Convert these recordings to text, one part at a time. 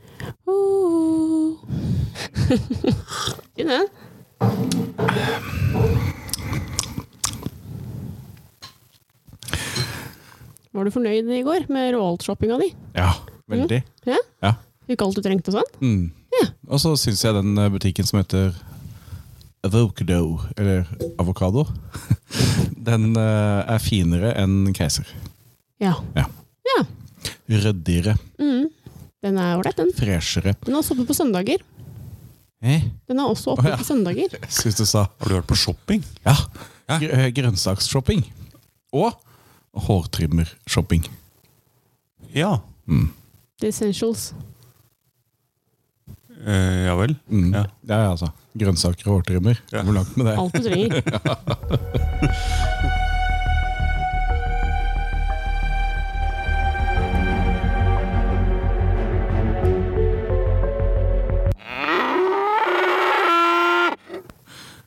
Uh. Fin den. Var du fornøyd i går med Roald-shoppinga di? Ja, veldig. Ja? Ja. Fikk alt du trengte og sånn? Mm. Ja. Og så syns jeg den eh, butikken som heter Avocado, eller Avokado, den eh, er finere enn Keiser. Ja. Ja. Ja. Ryddigere, Mm. Den er ålreit, den. freshere. Den er også oppe på søndager. Eh? Den er også oppe Å, ja. på søndager. Jeg syns du sa Har du vært på shopping? ja. Ja. Gr eh, grønnsaksshopping. Og hårtrimmershopping. Ja. Mm. The Essentials. Eh, ja vel. Mm. Ja. Ja. ja, altså. Grønnsaker og hårtrimmer. Ja. Hvor langt med det? Alt du trenger.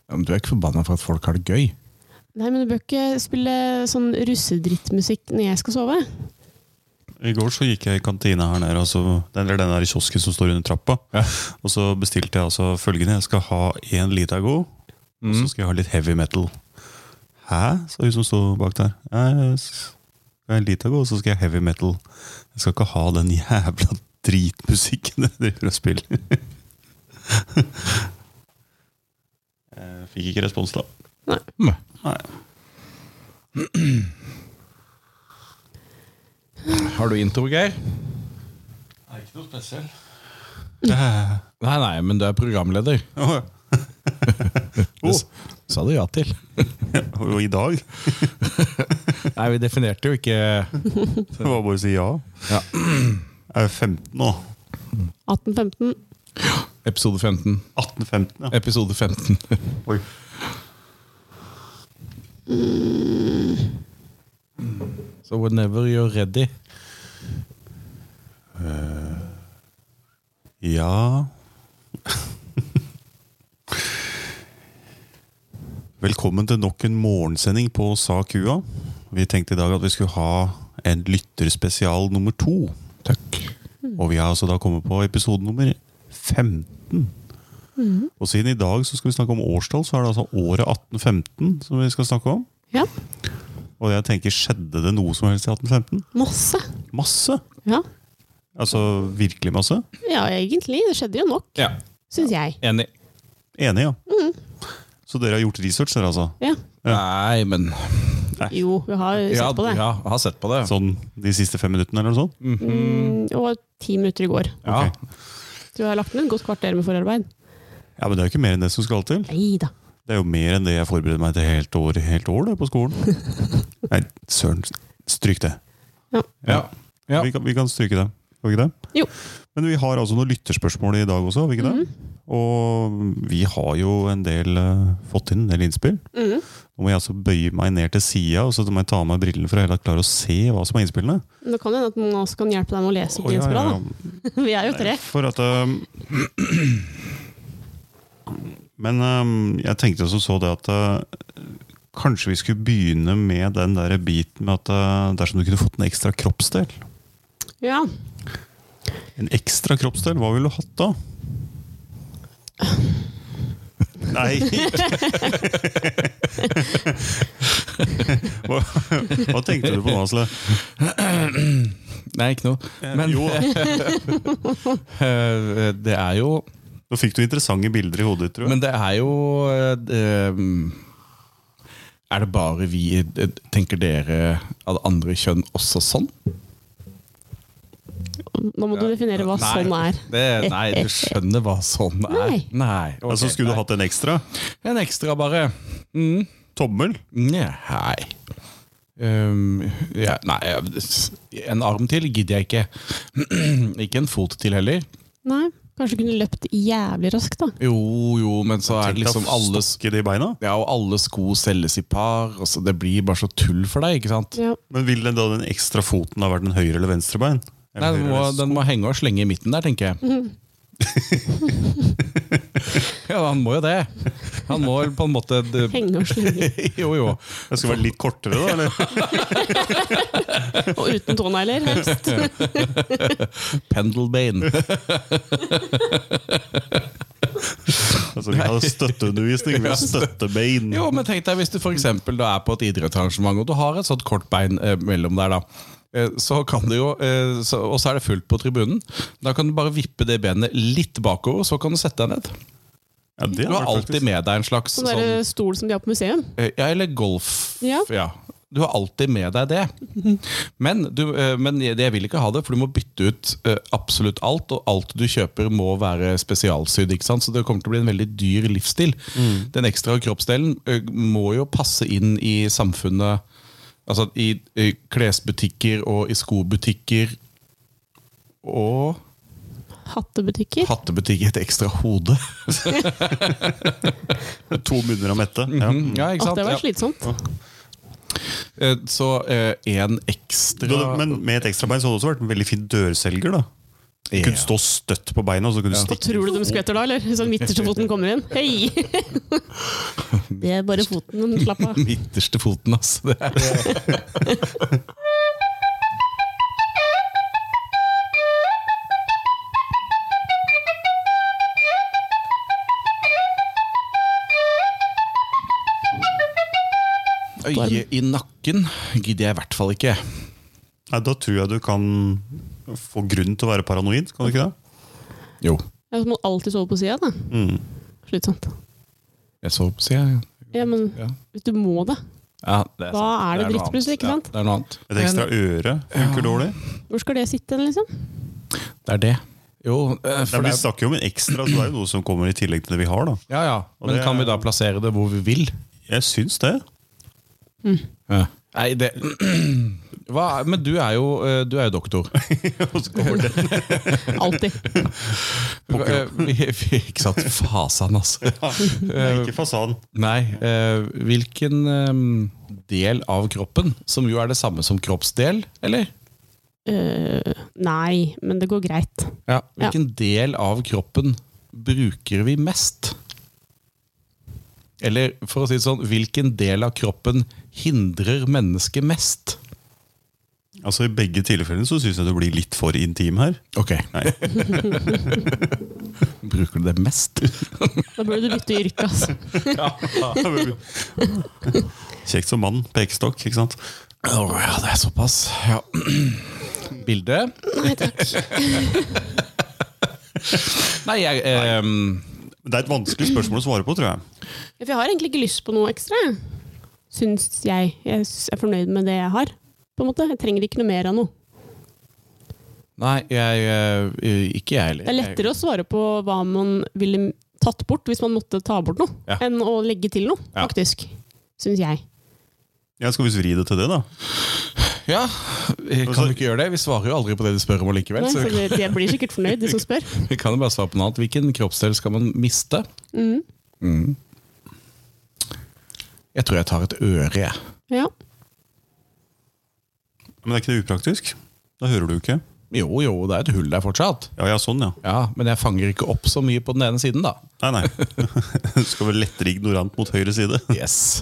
Ja, men du er ikke forbanna for at folk har det gøy. Nei, men du bør ikke spille sånn russedrittmusikk når jeg skal sove. I går så gikk jeg i kantina her nede, og så- eller den der kiosken som står under trappa. Og så bestilte jeg altså følgende. Jeg skal ha én Litago, og så skal jeg ha litt heavy metal. Hæ? sa hun som sto bak der. «Ja, Jeg skal ha en Litago, og så skal jeg ha heavy metal. Jeg skal ikke ha den jævla dritmusikken jeg driver og spiller. Jeg Eh, Fikk ikke respons, da. Mm. Nei. Har du intro, Geir? Det er ikke noe spesielt. Nei, nei, men du er programleder. Det s- sa du ja til. Og i dag Nei, vi definerte jo ikke Det var bare å si ja. Ja. Jeg er 15 nå. 18-15. episode 15. 18-15, ja. Episode 15. Oi. So whenever you're ready. Ja Velkommen til nok en morgensending på Sa kua. Vi tenkte i dag at vi skulle ha en lytterspesial nummer to. Takk. Og vi har altså da kommet på episode nummer 15. Og siden i dag så skal vi snakke om årstall, så er det altså året 1815 som vi skal snakke om. Ja. Og jeg tenker, skjedde det noe som helst i 1815? Masse. Masse! Ja. Altså virkelig masse? ja, egentlig. Det skjedde jo nok, Ja, syns jeg. enig. Enig, ja. Så dere har gjort research, dere altså? Ja. Nei, men Jo, vi har sett ja, på det. ja, jeg har sett på det. Sånn de siste fem minuttene, eller noe sånt? Mm, det var ti minutter i går. Ja. Ok. Tror jeg har lagt ned et godt kvarter med forarbeid. Ja, men det er jo ikke mer enn det som skal til. Nei da. Det er jo mer enn det jeg forbereder meg til helt år, helt år det, på skolen. Nei, søren. Stryk det. Ja. Ja. Vi, kan, vi kan stryke det. Skal vi ikke det? Jo. Men vi har altså noen lytterspørsmål i dag også, har vi ikke det? Mhm. Og vi har jo en del eh, fått inn en del innspill. Mhm. Nå må jeg altså bøye meg ned til sida, og så må jeg ta av meg brillene for å hele tatt klare å se hva som er innspillene. Men det kan hende at noen også kan hjelpe deg med å lese opp Å, ja, innspillene. ja, da. ja. Vi er jo tre. For at um, Men um, jeg tenkte også så det at uh, Kanskje vi skulle begynne med den der biten med at uh, dersom du kunne fått en ekstra kroppsdel Ja. En ekstra kroppsdel, hva ville du hatt da? Nei hva, hva tenkte du på nå, Asle? Nei, ikke noe. Men Jo, eh, det er jo nå fikk du interessante bilder i hodet ditt, tror jeg. Men det er jo eh, det, Er det bare vi eh, Tenker dere av det andre kjønn også sånn? Nå må du definere hva Nei, sånn er. Det, nei, du skjønner hva sånn er. Nei. Nei. ok, altså, skulle du nei. hatt en ekstra? En ekstra, bare. Mm. Tommel? Nei. Um, ja, nei En arm til gidder jeg ikke. ikke en fot til heller. Nei. Kanskje du kunne løpt jævlig raskt, da. Jo, jo, men så er det Tenk deg å liksom alle stokke det i beina? ja, og alle sko selges i par. Og så det blir bare så tull for deg. ikke sant? Ja. Men vil den da den ekstra foten ha vært en høyre eller venstre bein? Nei, Eller den, må, høyre eller- den må henge og slenge i midten der, tenker jeg. ja, han må jo det. Han må vel på en måte d- Henge og slenge. Jo, jo. Jeg skal være litt kortere, da? eller? Og uten tånegler, helst. Pendlebein. Altså, vi har støtteundervisning, vi har støttebein. Jo, men tenk deg hvis du for eksempel da er på et idrettsarrangement og du har et sånt kort bein eh, mellom der, da. eh, Så kan du jo, eh, så, og så er det fullt på tribunen. Da kan du bare vippe det benet litt bakover, så kan du sette deg ned. Ja, det Du har alltid med deg en slags Sånn sånn der stol som de har på museum. Eh, Ja, eller golf. Ja. Ja. Du har alltid med deg det. Men, du, eh, men jeg jeg vil ikke ha det, for du må bytte ut eh, absolutt alt. Og alt du kjøper må være spesialsydd. ikke sant? Så det kommer til å bli en veldig dyr livsstil. Mm. Den ekstra kroppsdelen eh, må jo passe inn i samfunnet. Altså i, i klesbutikker og i skobutikker. Og Hattebutikker. hattebutikker. Et ekstra hode. To munner å mette. Ja. Ja, At ikke sant? det var Ja. slitsomt. Eh, Så én ekstra Du, men med et ekstrabein så hadde du også vært en veldig fin dørselger. da Du Ja. kunne stå støtt på beina, og så kunne du Og stikke tror du de skvetter da, eller? Sånn midterste foten kommer inn. Hei! Det er bare foten. men Slapp av. Midterste foten, altså. Det er Øye i nakken gidder jeg i hvert fall ikke. Nei, Da tror jeg du kan få grunn til å være paranoid, kan du ikke det? Jo, Ja, så må du alltid sove på sida, da. Mm. Slitsomt. jeg så, sier jeg. Ja, men Ja. hvis du må det, Ja, det da er det noe annet. drittbluss, ikke sant? Ja, det er noe annet. Et ekstra øre funker dårlig. Hvor skal det sitte, liksom? Det er det. Jo, eh, Nei, for det men vi er, snakker jo om en ekstra, så det er jo noe som kommer i tillegg til det vi har. da ja, ja. Men det er- kan vi da plassere det hvor vi vil? Jeg syns det. Ja. Nei, det Hva, er- Men du er jo, eh, du er jo doktor. Og så kommer det Alltid. Eh, vi- vi- Ikke sant? Fasan, altså. Nei, ikke fasaden. Nei. eh, Hvilken eh, del av kroppen, som jo er det samme som kroppsdel, eller? Øh, nei, men det går greit. Ja. Ja. Hvilken del av kroppen bruker vi mest? Eller for å si det sånn, hvilken del av kroppen hindrer mennesket mest? Altså I begge tilfellene så syns jeg du blir litt for intim her. Ok. Nei. Bruker du det mest? Da burde du bytte yrke, altså. Kjekt som mann. Pekestokk, ikke sant? Åh, ja, det er såpass. Ja. Bilde? Nei takk. Nei, jeg ehm, Men Det er et vanskelig spørsmål å svare på, tror jeg. For jeg har egentlig ikke lyst på noe ekstra, jeg. syns jeg. Jeg s- er fornøyd med det jeg har. På en måte. Jeg trenger ikke noe mer av noe. Nei, jeg eh, Ikke jeg heller. Det er lettere å svare på hva man ville tatt bort hvis man måtte ta bort noe, Ja. enn å legge til noe, Ja. faktisk. Syns jeg. Jeg skal visst vri det til det, da. Ja, vi kan Altså- jo ikke gjøre det? Vi svarer jo aldri på det de spør om allikevel. Nei, Så så vi kan- det, jeg blir sikkert fornøyd, de som spør. vi kan jo bare svare på noe annet. Hvilken kroppsdel skal man miste? Mm. Mm. Jeg tror jeg tar et øre, jeg. Ja. Men er ikke det upraktisk? Da hører du ikke. Jo, jo, det er et hull der fortsatt. Ja, ja, sånn, ja. Ja, Men jeg fanger ikke opp så mye på den ene siden, da. Nei, nei. Du skal være lettere ignorant mot høyre side. Yes.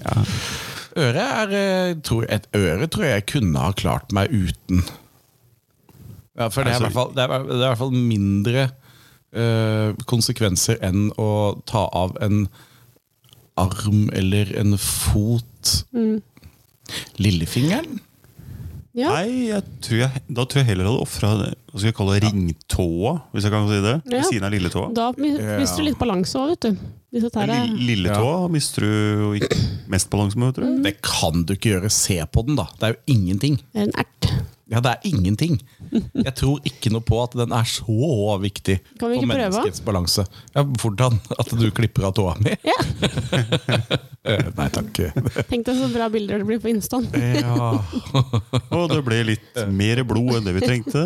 Øre er, eh, tror, et øre tror jeg jeg kunne ha klart meg uten. Ja, for det er i Altså- hvert fall, det er, det er i hvert fall mindre eh, konsekvenser enn å ta av en arm eller en fot. Mm. Lillefingeren? ja. Nei, jeg tror jeg, da tror jeg heller hadde ofra Hva skal jeg kalle det? Ringtåa, hvis jeg kan si det. Ja. Ved siden av lilletåa. Da mi- mister du litt balanse òg, vet du. Disse tæra. Lill- Lilletåa mister du jo ikke mest balanse med, tror Mm. jeg. Det kan du ikke gjøre. Se på den, da. Det er jo ingenting. En ert. Ja, det er ingenting. Jeg tror ikke noe på at den er så viktig Kan vi for ikke prøve? menneskets balanse. Ja, hvordan? At du klipper av tåa mi? Ja. Eh, Nei takk. Tenk deg så bra bilder det blir på Instaen. Ja. Mm. Og det ble litt mer blod enn det vi trengte.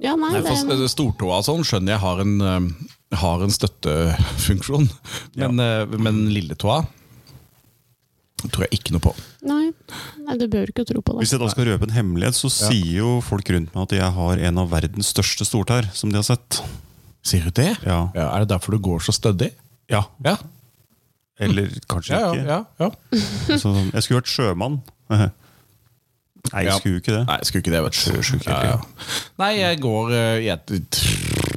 Ja, nei, Nei, det for er, s- Stortåa og sånn skjønner jeg har en, eh, har en støttefunksjon, men, eh, men lilletåa tror jeg ikke noe på. nei. Nei, du behøver ikke å tro på det. Hvis jeg da skal røpe en hemmelighet, så sier jo folk rundt meg at jeg har en av verdens største stortær som de har sett. Sier du det? Ja, Ja, er det derfor du går så stødig? ja. Ja, Eller kanskje ja, ikke. ja, ja, ja. Så, sånn, jeg skulle vært sjømann. Nei, jeg Ja. skulle jo ikke det. Nei, skulle ikke det, vet du. Skulle ikke Ja, ja. Nei, jeg går eh, jeg,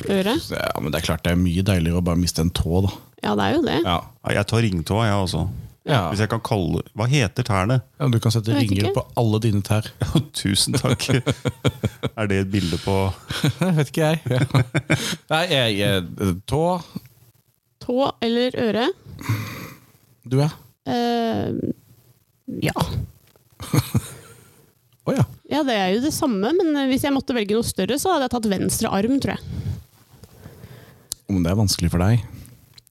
Øret? ja, Men det er klart det er mye deiligere å bare miste en tå, da. Ja, det er jo det. Ja. Nei, Jeg tar ringtåa, jeg, altså. Ja. Hvis jeg kan kalle Hva heter tærne? Ja, du kan sette Jeg vet ringer ikke. på alle dine tær. Tusen takk. Er det et bilde på Jeg vet ikke, jeg. Ja. Nei, jeg, jeg Tå. Tå eller øre? Du, ja. Eh, ja. Å ja. ja, det er jo det samme, men hvis jeg måtte velge noe større, så hadde jeg tatt venstre arm, tror jeg. Om det er vanskelig for deg.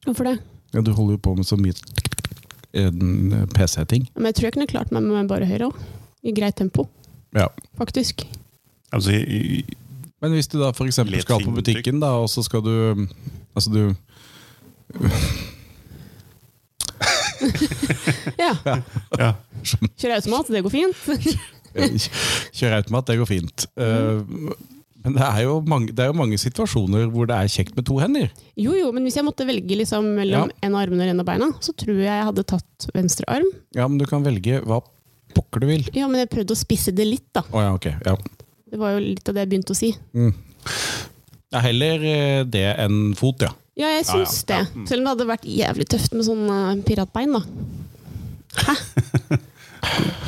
Hvorfor det? Ja, du holder jo på med så mye eh, PC-ting. Men jeg tror jeg kunne klart meg med bare høyre òg. I greit tempo, Ja. faktisk. altså, i- i- Men hvis du da for eksempel Litt skal på fingertrykk. butikken, da, og så skal du Altså, du Ja. ja. Kjøre automat, det går fint. eh, Kjøre automat, det går fint. Eh, Men det er, jo mange, det er jo mange situasjoner hvor det er kjekt med to hender. Jo, jo, men hvis jeg måtte velge liksom mellom en av armene og en av beina, så tror jeg jeg hadde tatt venstre arm. Ja, men du kan velge hva pokker du vil. Ja, men jeg prøvde å spisse det litt, da. Å ja, ok. Ja. Det var jo litt av det jeg begynte å si. Mm. ja. Heller eh, det enn fot, ja. Ja, jeg Ja, mm. ja. syns det. Selv om det hadde vært jævlig tøft med sånn eh, piratbein, da. Som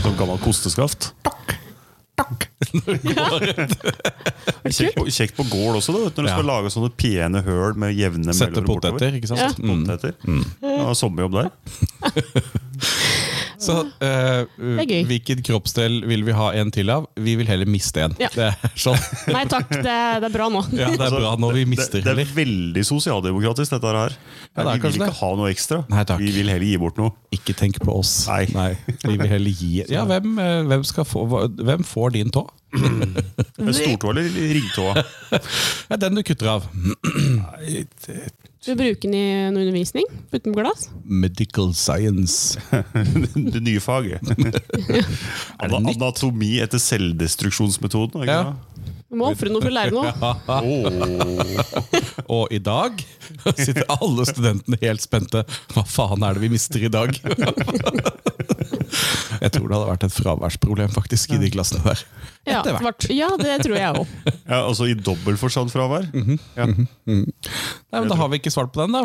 sånn gammel kosteskaft. Kjekt på, kjekt på gård også, da, vet du, når du Ja. skal lage sånne pene høl med jevne Sette mellomrom bortover. poteter, ikke sant? Mm. Sette poteter. Ja, sommerjobb der. Så er eh, gøy. hvilken kroppsdel vil vi ha en til av? Vi vil heller miste en. Ja. Det er sånn. Nei takk, det, det er bra nå. Ja, det er Altså, bra når vi mister Det, det heller. er veldig sosialdemokratisk, dette her. Ja, det er vi vil kanskje ikke det. ha noe ekstra. Nei, takk. Vi vil heller gi bort noe. Ikke tenk på oss. Nei. Vi vil heller gi Ja, hvem, eh, hvem, skal få, hva- hvem får din tå? En stortå eller ringtåa? Ja, den du kutter av. Du bruker den i noe undervisning? Putte den på glass? Medical science. Det nye faget. Ana- nytt? Anatomi etter selvdestruksjonsmetoden. Ikke? Ja. sant? Du må ofre noe for å lære noe. Og i dag sitter alle studentene helt spente. Hva faen er det vi mister i dag? Jeg tror det hadde vært et fraværsproblem faktisk i de klassene der. Ja, Etter hvert. svart- Ja, det tror jeg òg. Ja, altså I dobbelt forstand fravær. Mhm. ja. Nei, men Da har vi ikke svart på den, da.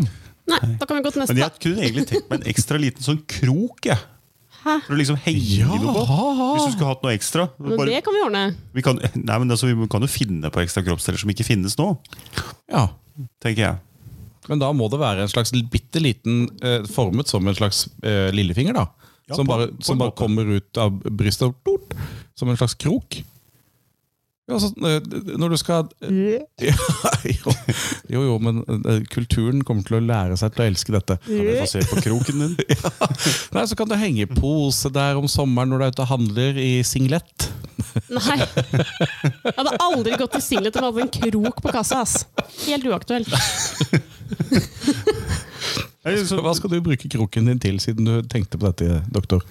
Nei, da kan vi gå til Men neste. jeg kunne egentlig tenkt meg en ekstra liten sånn krok. Jeg. Hæ? For å liksom henge Ja. noe på. Hvis du skulle hatt noe ekstra. Men Bare, det kan vi ordne. vi, kan, nei, men altså, vi kan jo finne på ekstra kroppsdeler som ikke finnes nå, Ja. tenker jeg. Men da må det være en slags bitte liten eh, formet som en slags eh, lillefinger, da. Ja, som på- bare, på en som bare måte. kommer ut av brystet og tort, som en slags krok. Ja, så, eh, når du skal Mm. ja, jo, jo, jo, men eh, kulturen kommer til å lære seg til å elske dette. Kan vi få se på kroken din? Nei, Så kan du henge i pose der om sommeren når du er ute og handler i singlet. Nei. Jeg hadde aldri gått til singlet om jeg hadde en krok på kassa. ass. Helt uaktuelt. Ja, liksom, Hva skal du bruke kroken din til, siden du tenkte på dette, doktor?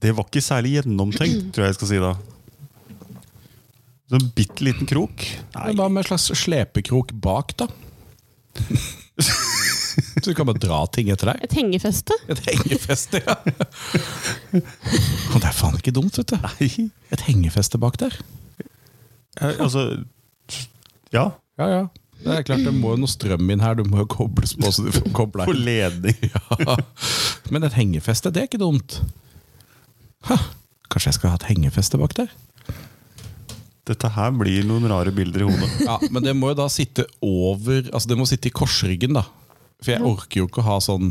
Det var ikke særlig gjennomtenkt, tror jeg jeg skal si da. Så en bitte liten krok. Nei, Men Hva med en slags slepekrok bak, da? Så du kan bare dra ting etter deg? Et hengefeste? Et hengefeste, ja. Og det er faen ikke dumt, vet du. nei. Et hengefeste bak der. Ja, Altså Ja. Ja, ja. Det er klart, det må jo noe strøm inn her, du må jo kobles på så du får kobla På inn. ledning. Ja. Men et hengefeste, det er ikke dumt. Ha, kanskje jeg skal ha et hengefeste bak der? Dette her blir noen rare bilder i hodet. Ja, Men det må jo da sitte over Altså det må sitte i korsryggen, da. For jeg orker jo ikke å ha sånn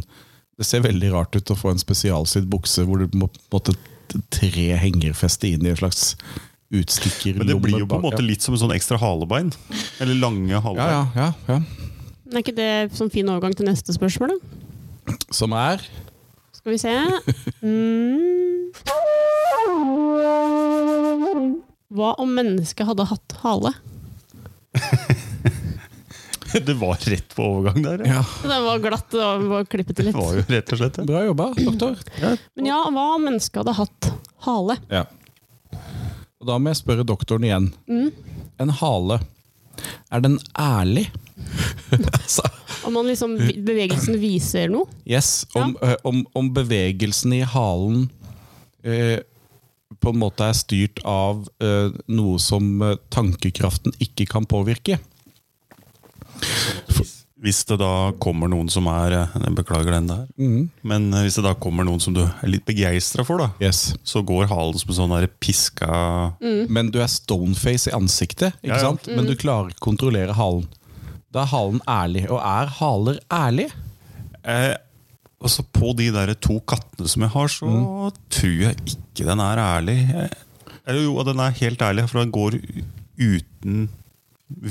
Det ser veldig rart ut å få en spesialsydd bukse hvor du må på en måte tre hengerfeste inn i en slags utstikkerlomme. Men det blir jo på en bak, måte ja. litt som en sånn ekstra halebein. Eller lange ja, halebein. ja, ja, ja. Er ikke det sånn fin overgang til neste spørsmål, da? Som er Skal vi se. Mm. Hva om mennesket hadde hatt hale? det var rett på overgang der. ja. Ja, Den var glatt og var klippete Det litt. var jo rett og slett det. Bra jobba, doktor. Men ja, hva om mennesket hadde hatt hale? Ja. Og da må jeg spørre doktoren igjen. En hale, er den ærlig? altså, Om man liksom vi- bevegelsen viser noe? yes, om, eh, om, om bevegelsen i halen eh, på en måte er styrt av eh, noe som eh, tankekraften ikke kan påvirke. Hvis det da kommer noen som er eh, jeg Beklager den der. Mm. Men eh, hvis det da kommer noen som du er litt begeistra for, da, Yes. så går halen som en sånn der piska Mm. Men du er stoneface i ansiktet, ikke Ja, ja. sant? men du klarer ikke å kontrollere halen. Da er halen ærlig. Og er haler ærlige? eh, Og så på de der to kattene som jeg har, så tror jeg ikke den er ærlig. Eh, Eller jo, den er helt ærlig, for den går u- uten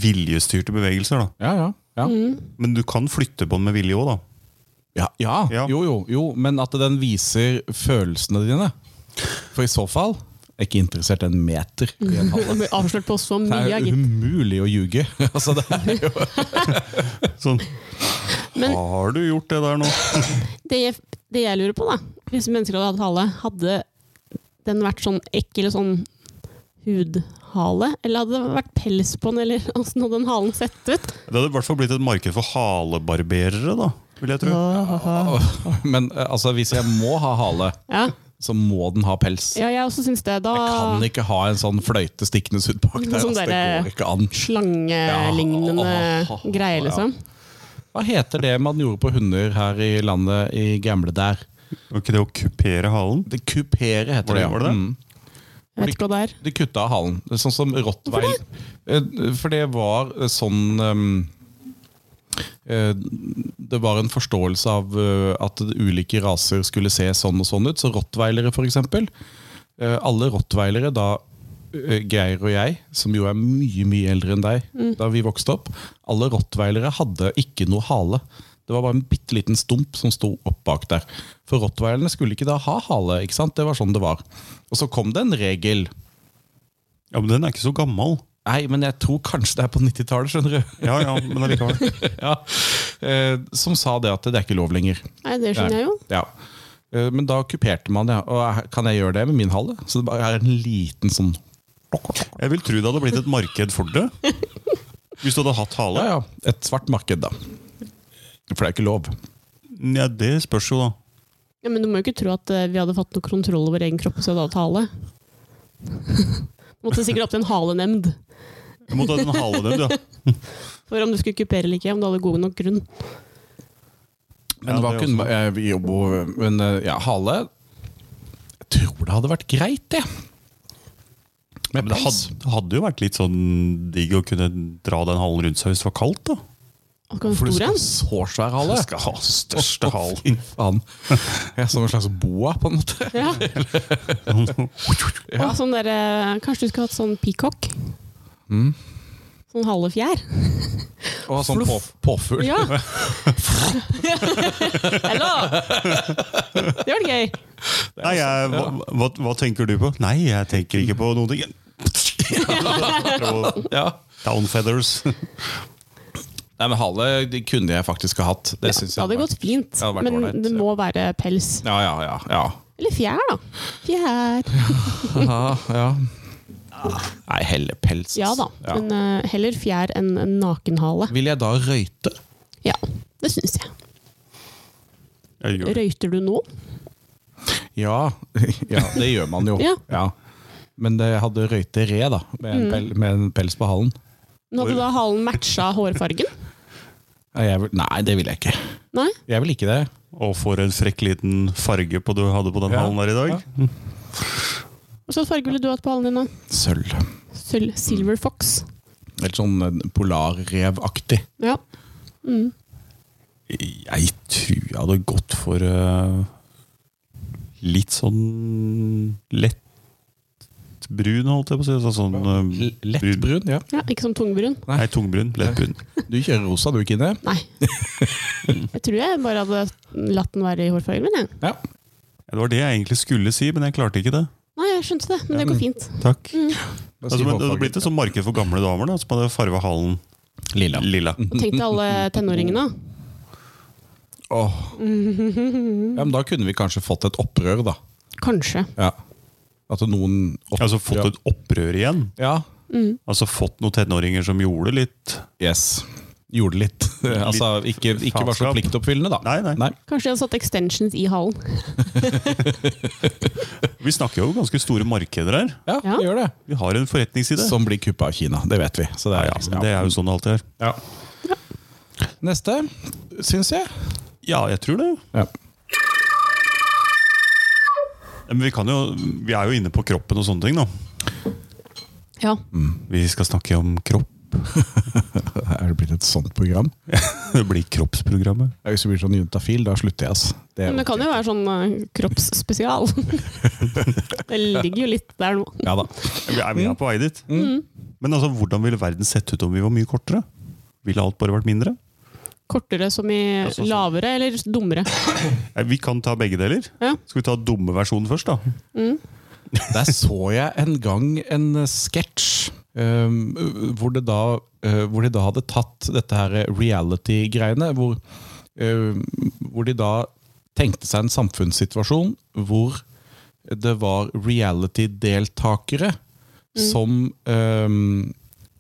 viljestyrte bevegelser. da. Ja, ja. Ja. Mm. Men du kan flytte på den med vilje òg, da. Ja, ja, Ja. Jo, jo, jo, men at den viser følelsene dine. For i så fall er ikke interessert en meter. i en hale. Det ble avslørt på så Det mye, er jo gitt. umulig å ljuge. Altså, det er jo, Sånn. Men- Har du gjort det der nå? Det, det jeg lurer på, da Hvis mennesker hadde hatt hale, hadde den vært sånn ekkel sånn hudhale? Eller hadde det vært pels på den, eller åssen hadde den halen sett ut? Det hadde i hvert fall blitt et marked for halebarberere, da. Vil jeg tro. men eh, altså, hvis jeg må ha hale, Ja, så må den ha pels. ja jeg også syns det. Da Kan ikke ha en sånn fløyte stikkende ut bak der. Sånn Altså, det derre- går ikke an. slangelignende Ja. greie, liksom. Hva heter det man gjorde på hunder her i landet i gamle der? Var ikke det å kupere halen? Det kupere heter Var det. det- ja. var det det? Mm. Jeg vet ikke hva det er. De kutta av halen, sånn som rottweil. Eh, For det var eh, sånn ehm, eh, Det var en forståelse av eh, at ulike raser skulle se sånn og sånn ut. Så rottweilere, for eksempel. eh, Alle rottweilere, da eh, Geir og jeg, som jo er mye mye eldre enn deg da vi vokste opp, alle rottweilere hadde ikke noe hale. Det var bare en bitte liten stump som sto opp bak der. For rottweilerne skulle ikke da ha hale. ikke sant? Det var sånn det var. Og så kom det en regel. Ja, men den er ikke så gammel. Nei, men jeg tror kanskje det er på 90-tallet, skjønner du. Ja, ja, men allikevel. ja. eh, som sa det at det er ikke lov lenger. Nei, det skjønner jeg jo. Ja. Eh, men da kuperte man, ja. Og her- kan jeg gjøre det med min hale? Så det bare er en liten sånn Jeg vil tro det hadde blitt et marked for det. Hvis du hadde hatt hale? Ja, ja. Et svart marked, da. For det er ikke lov. Ja, det spørs jo, da. Ja, men du må jo ikke tro at eh, vi hadde fått noe kontroll over egen kropp hvis vi hadde hatt hale. Måtte sikkert opp til en halenemnd Jeg måtte ha en hale den, ja. for om du skulle kupere eller ikke, om du hadde god nok grunn. Men, Ja, hva det kunne, eh, vi jobber- men eh, ja, hale Jeg tror det hadde vært greit, det. Med Men det pels. hadde, det hadde jo vært litt sånn digg å kunne dra den halen rundt seg hvis det var kaldt, da. Og kan For du stor skal ha en? så svær hale. Du skal ha største halen. Fy faen. Jeg er som en slags boa, på en måte. Ja. Og sånn der, eh, kanskje du skulle hatt sånn peacock? Mm. Sånn halefjær? Og sånn på, påfugl. Ja! Eller? Det var gøy. Nei, jeg, hva, hva, hva tenker du på? Nei, jeg tenker ikke på noen ting. Ja. Down feathers. Nei, men hale de kunne jeg faktisk ha hatt. Det synes Det hadde jeg gått fint, det hadde vært men ålreit, det ja. må være pels. Ja, ja, ja. ja. Eller fjær, da. Fjær. ja, ja. Nei, helle pels. altså. Ja da, Ja. men eh, heller fjær enn en nakenhale. Vil jeg da røyte? Ja, det syns jeg. Jeg gjør det. Røyter du nå? Ja. ja, det gjør man jo. Ja. Mm. Men det hadde røyte re, da. Med en, pel, med en pels på halen. Nå hadde da halen matcha hårfargen? Nei, Jeg vil, nei, det vil jeg ikke. Nei? Jeg vil ikke det. Og for en frekk liten farge på du hadde på den Ja. halen der i dag. Hva slags farge ville du hatt på halen din? da? Sølv. Sølv. Silver fox. Helt sånn eh, polarrevaktig. Ja. Mm. Jeg tror jeg hadde gått for eh, litt sånn lett brun, holdt jeg på å si. Altså sånn eh, L- Lett brun, ja. ja. Ikke som tungbrun? Nei, tungbrun. Lett brun. Du kjører rosa, du, Kine. Nei. Jeg tror jeg bare hadde latt den være i hårfargen min. jeg. Ja. Det var det jeg egentlig skulle si, men jeg klarte ikke det. Nei, jeg skjønte det, men det går fint. Takk. Hva Altså, sier men det hårfargen? hadde blitt et sånn marked for gamle damer da, som hadde farga halen Lilla. Lilla. Og tenk deg alle tenåringene. Åh. Ja, men da kunne vi kanskje fått et opprør, da. Kanskje. Ja. At noen opp- Altså fått et opprør igjen. Ja. Altså fått noen tenåringer som gjorde litt Yes. Gjorde litt. altså, ikke, ikke var så faenskap. pliktoppfyllende, da. Nei, nei. Kanskje de hadde satt extensions i hallen. Vi snakker jo ganske store markeder her. Ja, Ja. det gjør det. Vi har en forretningsside. Som blir kuppa av Kina. Det vet vi. Så det ja, er, liksom- ja, men det er jo sånn det alltid er. Ja. Neste, syns jeg. Ja, jeg tror det. Ja. Men vi, kan jo, vi er jo inne på kroppen og sånne ting, da. Ja. Vi skal snakke om kropp. Er det blitt et sånt program? Det blir kroppsprogrammet. Ja, Hvis du blir sånn juntafil, da slutter jeg, altså. Det er Men det kan jo være sånn eh, kroppsspesial. det ligger jo litt der nå. Ja da. Vi er, vi er på vei dit. Men altså, hvordan ville verden sett ut om vi var mye kortere? Ville alt bare vært mindre? Kortere som i sånn som- lavere eller dummere. Nei, Vi kan ta begge deler. Ja. Skal vi ta dumme versjonen først, da? Der så jeg en gang en eh, sketsj ehm, hvor, det da, eh, hvor de da hadde tatt dette her eh, reality-greiene. Hvor, ehm, hvor de da tenkte seg en samfunnssituasjon hvor det var reality-deltakere som ehm,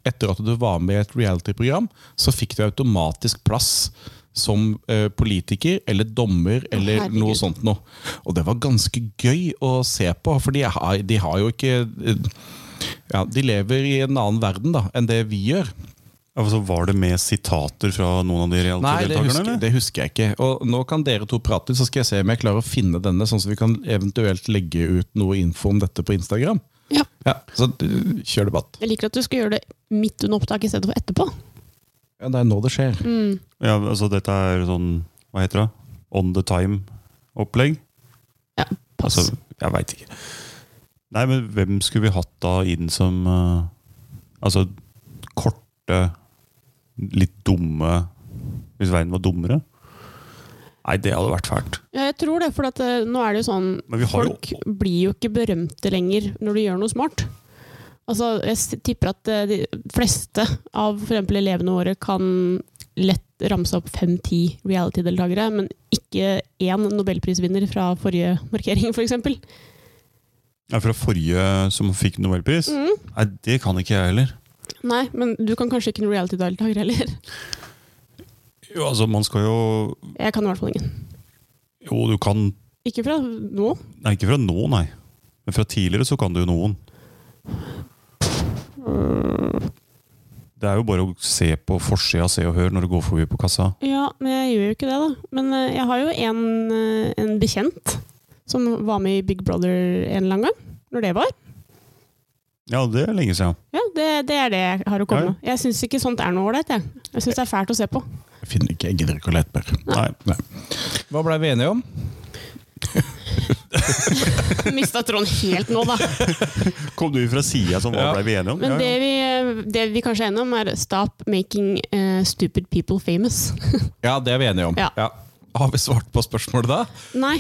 Etter at du var med i et reality-program, så fikk du automatisk plass som eh, politiker eller dommer eller herregud. noe sånt noe. Og det var ganske gøy å se på, for de har, de har jo ikke eh, ja, De lever i en annen verden da, enn det vi gjør. Altså, var det med sitater fra noen av de Nei, det reality-deltakerne? husker, eller? det husker jeg ikke. Og nå kan dere to prate, så skal jeg se om jeg klarer å finne denne, sånn at vi kan eventuelt legge ut noe info om dette på Instagram. Ja. Ja, Så du, kjør debatt. Jeg liker at du skal gjøre det midt under opptak i stedet for etterpå. Ja, det er nå det skjer. Ja, altså dette er sånn, hva heter det? On the time-opplegg? Ja, pass. Altså, jeg veit ikke. Nei, men hvem skulle vi hatt da inn som eh, Altså korte, litt dumme Hvis verden var dummere? Nei, det hadde vært fælt. Ja, jeg tror det, for at, eh, nå er det jo sånn Men vi har jo- Folk blir jo ikke berømte lenger når du gjør noe smart. Altså, jeg s- tipper at eh, de fleste av for eksempel elevene våre kan lett ramse opp fem-ti reality-deltakere, men ikke én nobelprisvinner fra forrige markering, f.eks. For eksempel. Ja, Fra forrige som fikk nobelpris? Mm. Nei, det kan ikke jeg heller. Nei, men du kan kanskje ikke noen reality-deltaker heller. Jo, altså, man skal jo Jeg kan i hvert fall ingen. Jo, du kan Ikke fra nå. Nei, ikke fra nå, nei. Men fra tidligere så kan du jo noen. Det er jo bare å se på forsida av Se og Hør når du går forbi på kassa. Ja, men jeg gjør jo ikke det, da. Men eh, jeg har jo en, eh, en bekjent som var med i Big Brother en eller annen gang. Når det var. Ja, det er lenge siden. Ja, Det, det er det jeg har å Ja, komme ja. med. Jeg syns ikke sånt er noe ålreit. Jeg, jeg syns det er fælt å se på. Jeg finner ikke, jeg gidder ikke å lete mer. Nei. Hva blei vi enige om? Mista tråden helt nå, da. Kom du fra sida som hva Ja. ble vi enige om? Men Ja, det ja. vi, det vi kanskje er enige om, er 'stop making eh, stupid people famous'. Ja, det er vi enige om. Ja. Har vi svart på spørsmålet da? Nei.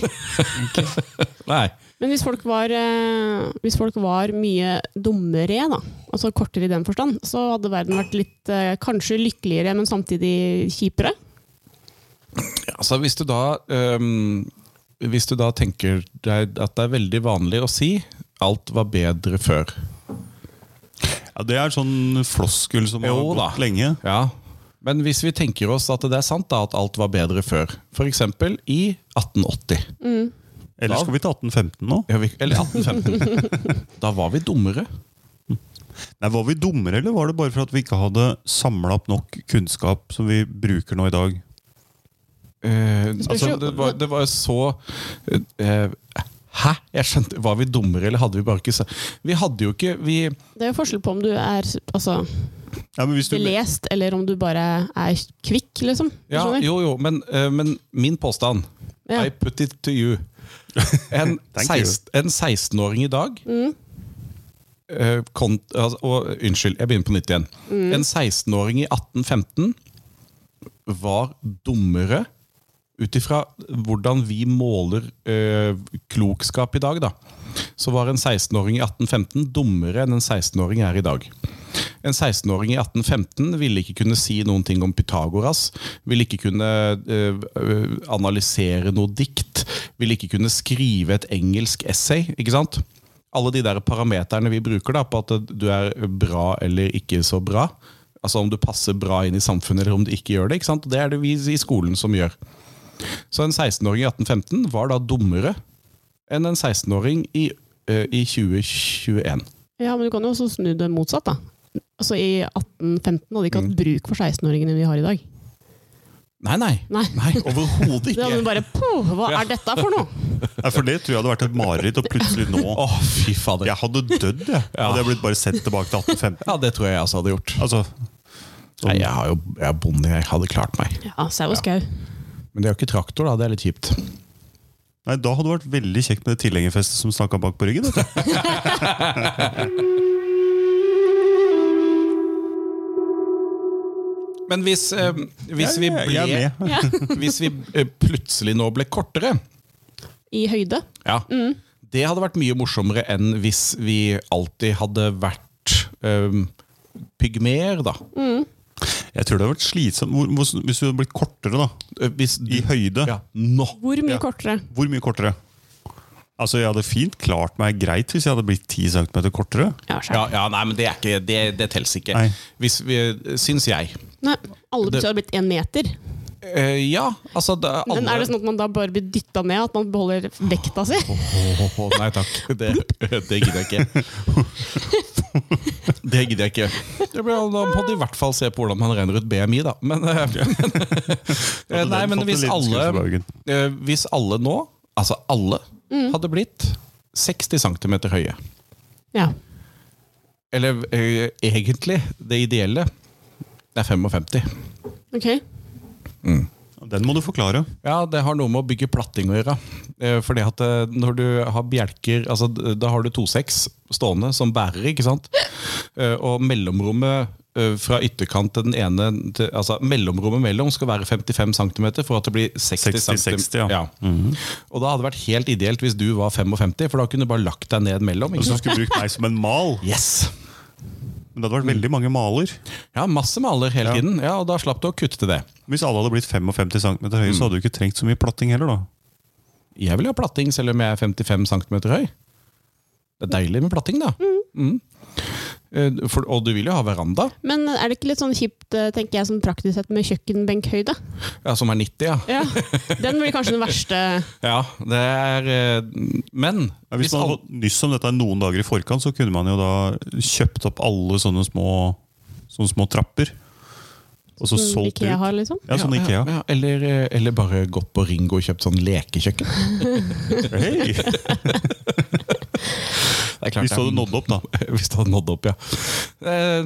Nei. Men hvis folk var, eh, hvis folk var mye dummere, da, altså kortere i den forstand, så hadde verden vært litt eh, kanskje lykkeligere, men samtidig kjipere. Altså, hvis du da øhm, Hvis du da tenker deg at det er veldig vanlig å si 'alt var bedre før'. ja, det er sånn floskel som har Jo gått da. lenge. Ja, men hvis vi tenker oss at det er sant da, at alt var bedre før, for eksempel i 1880, Eller skal vi til 1815 nå? Ja, vi- eller 1815, da var vi dummere. Nei, Var vi dummere, eller var det bare for at vi ikke hadde samla opp nok kunnskap som vi bruker nå i dag? Eh, Spørs jo- altså, det var, det var så eh, Hæ? Jeg skjønte, Var vi dummere, eller hadde vi bare ikke se- Vi hadde jo ikke vi, Det er jo forskjell på om du er altså, Ja, men hvis du, belest, eller om du bare er kvikk, liksom. Du ja, skjønner? Jo, jo, men, eh, men min påstand Ja. I put it to you. En, Thank you. 16, en 16-åring i dag eh, kont, altså, og, Unnskyld, jeg begynner på nytt igjen. En 16-åring i 1815 var dummere ut ifra hvordan vi måler eh, klokskap i dag, da. Så var en 16-åring i 1815 dummere enn en 16-åring er i dag. En 16-åring i 1815 ville ikke kunne si noen ting om Pythagoras, ville ikke kunne eh, analysere noe dikt, ville ikke kunne skrive et engelsk essay. ikke sant? Alle de der parameterne vi bruker da, på at du er bra eller ikke så bra. Altså om du passer bra inn i samfunnet eller om du ikke gjør det. ikke sant? Det er det vi i skolen som gjør. Så en 16-åring i 1815 var da dummere enn en 16-åring i, eh, i 2021. Ja, men du kan jo også snu det motsatt, da. Altså I 1815 hadde de ikke Mm. hatt bruk for 16-åringene vi har i dag. Nei, nei. Nei. Nei, Overhodet Det ikke. hadde Å, de bare Puh, hva er dette for noe?! Ja, for det tror jeg hadde vært et mareritt, og plutselig nå fy fader. Ja. Jeg hadde dødd, jeg. Hadde jeg blitt bare sett tilbake til 1815. det tror jeg jeg også hadde gjort. Altså, Nei, jeg, har jo, jeg er bonde, jeg hadde klart meg. Ja, sau og skau. Men det er jo ikke traktor, da. Det er litt kjipt. nei, da hadde det vært veldig kjekt med det tilhengerfestet som snakka bak på ryggen. vet du. Men hvis, eh, hvis, vi, Jeg- ble, jeg er med. Ja. hvis vi eh, plutselig nå ble kortere I høyde. ja, Det hadde vært mye morsommere enn hvis vi alltid hadde vært eh, pygmeer, da. Jeg tror det hadde vært slitsomt Hvor- hvor- hvis du hadde blitt kortere, da. Eh, Hvis I du høyde. ja, Nå! Hvor mye Ja. kortere? Hvor mye kortere? Altså, Jeg hadde fint klart meg greit hvis jeg hadde blitt 10 cm kortere. Ja, Ja, skjær. ja, nei, men det, er ikke, det, det tels ikke. Nei. Hvis vi, syns jeg. Nei, alle plutselig Det- hadde blitt én meter. Eh, ja, altså da, alle, Men er det sånn at man da bare blir dytta ned? At man beholder vekta si? Åh, nei takk. Det, det gidder jeg ikke. Det gidder jeg ikke. Det blir, da må du i hvert fall se på hvordan man regner ut BMI, da. Men, eh, eh, Altså, nei, men hvis alle, eh, hvis alle nå, altså alle, Mm. hadde blitt 60 cm høye Ja. Eller eh, egentlig, det ideelle, det er 55. Ok. Den må du forklare. Ja, det har noe med å bygge platting å gjøre. Eh, Fordi at eh, når du har bjelker altså, d- Da har du 2,6 stående som bærer, ikke sant? Eh, Og mellomrommet eh, fra ytterkant til den ene til, Altså mellomrommet mellom skal være 55 cm for at det blir 60 cm. 60, ja. Mhm. Og da hadde det vært helt ideelt hvis du var 55, for da kunne du bare lagt deg ned mellom. Og Ikke så sant? Altså, skulle du brukt meg som en mal. Yes! Men det hadde Mm. vært veldig mange maler. Ja, masse maler hele Ja. tiden. Ja, Og da slapp du å kutte til det. Hvis alle hadde blitt 55 cm høye, så hadde du ikke trengt så mye platting heller. da. Jeg vil ha platting selv om jeg er 55 cm høy. Det er deilig med platting, da. Mm. Eh, For, og du vil jo ha veranda, Men er det ikke litt sånn kjipt, eh, tenker jeg, som praktisk sett med kjøkkenbenkhøyde? ja, som er 90, ja. Ja. Den blir kanskje den verste ja det er, eh, men Ja, hvis hvis, man hadde alle, fått nyss om dette noen dager i forkant, så kunne man jo da kjøpt opp alle sånne små, sånne små trapper. Og så som solgt IKEA Mm, ut. har, liksom? Ja, sånn Ja, Ikea. ja, eller, eh, eller bare gått på Ringo og kjøpt sånn lekekjøkken. Hei! Det er klart Hvis det du er- hadde nådd opp, da. Hvis det hadde nådd opp, ja. Eh,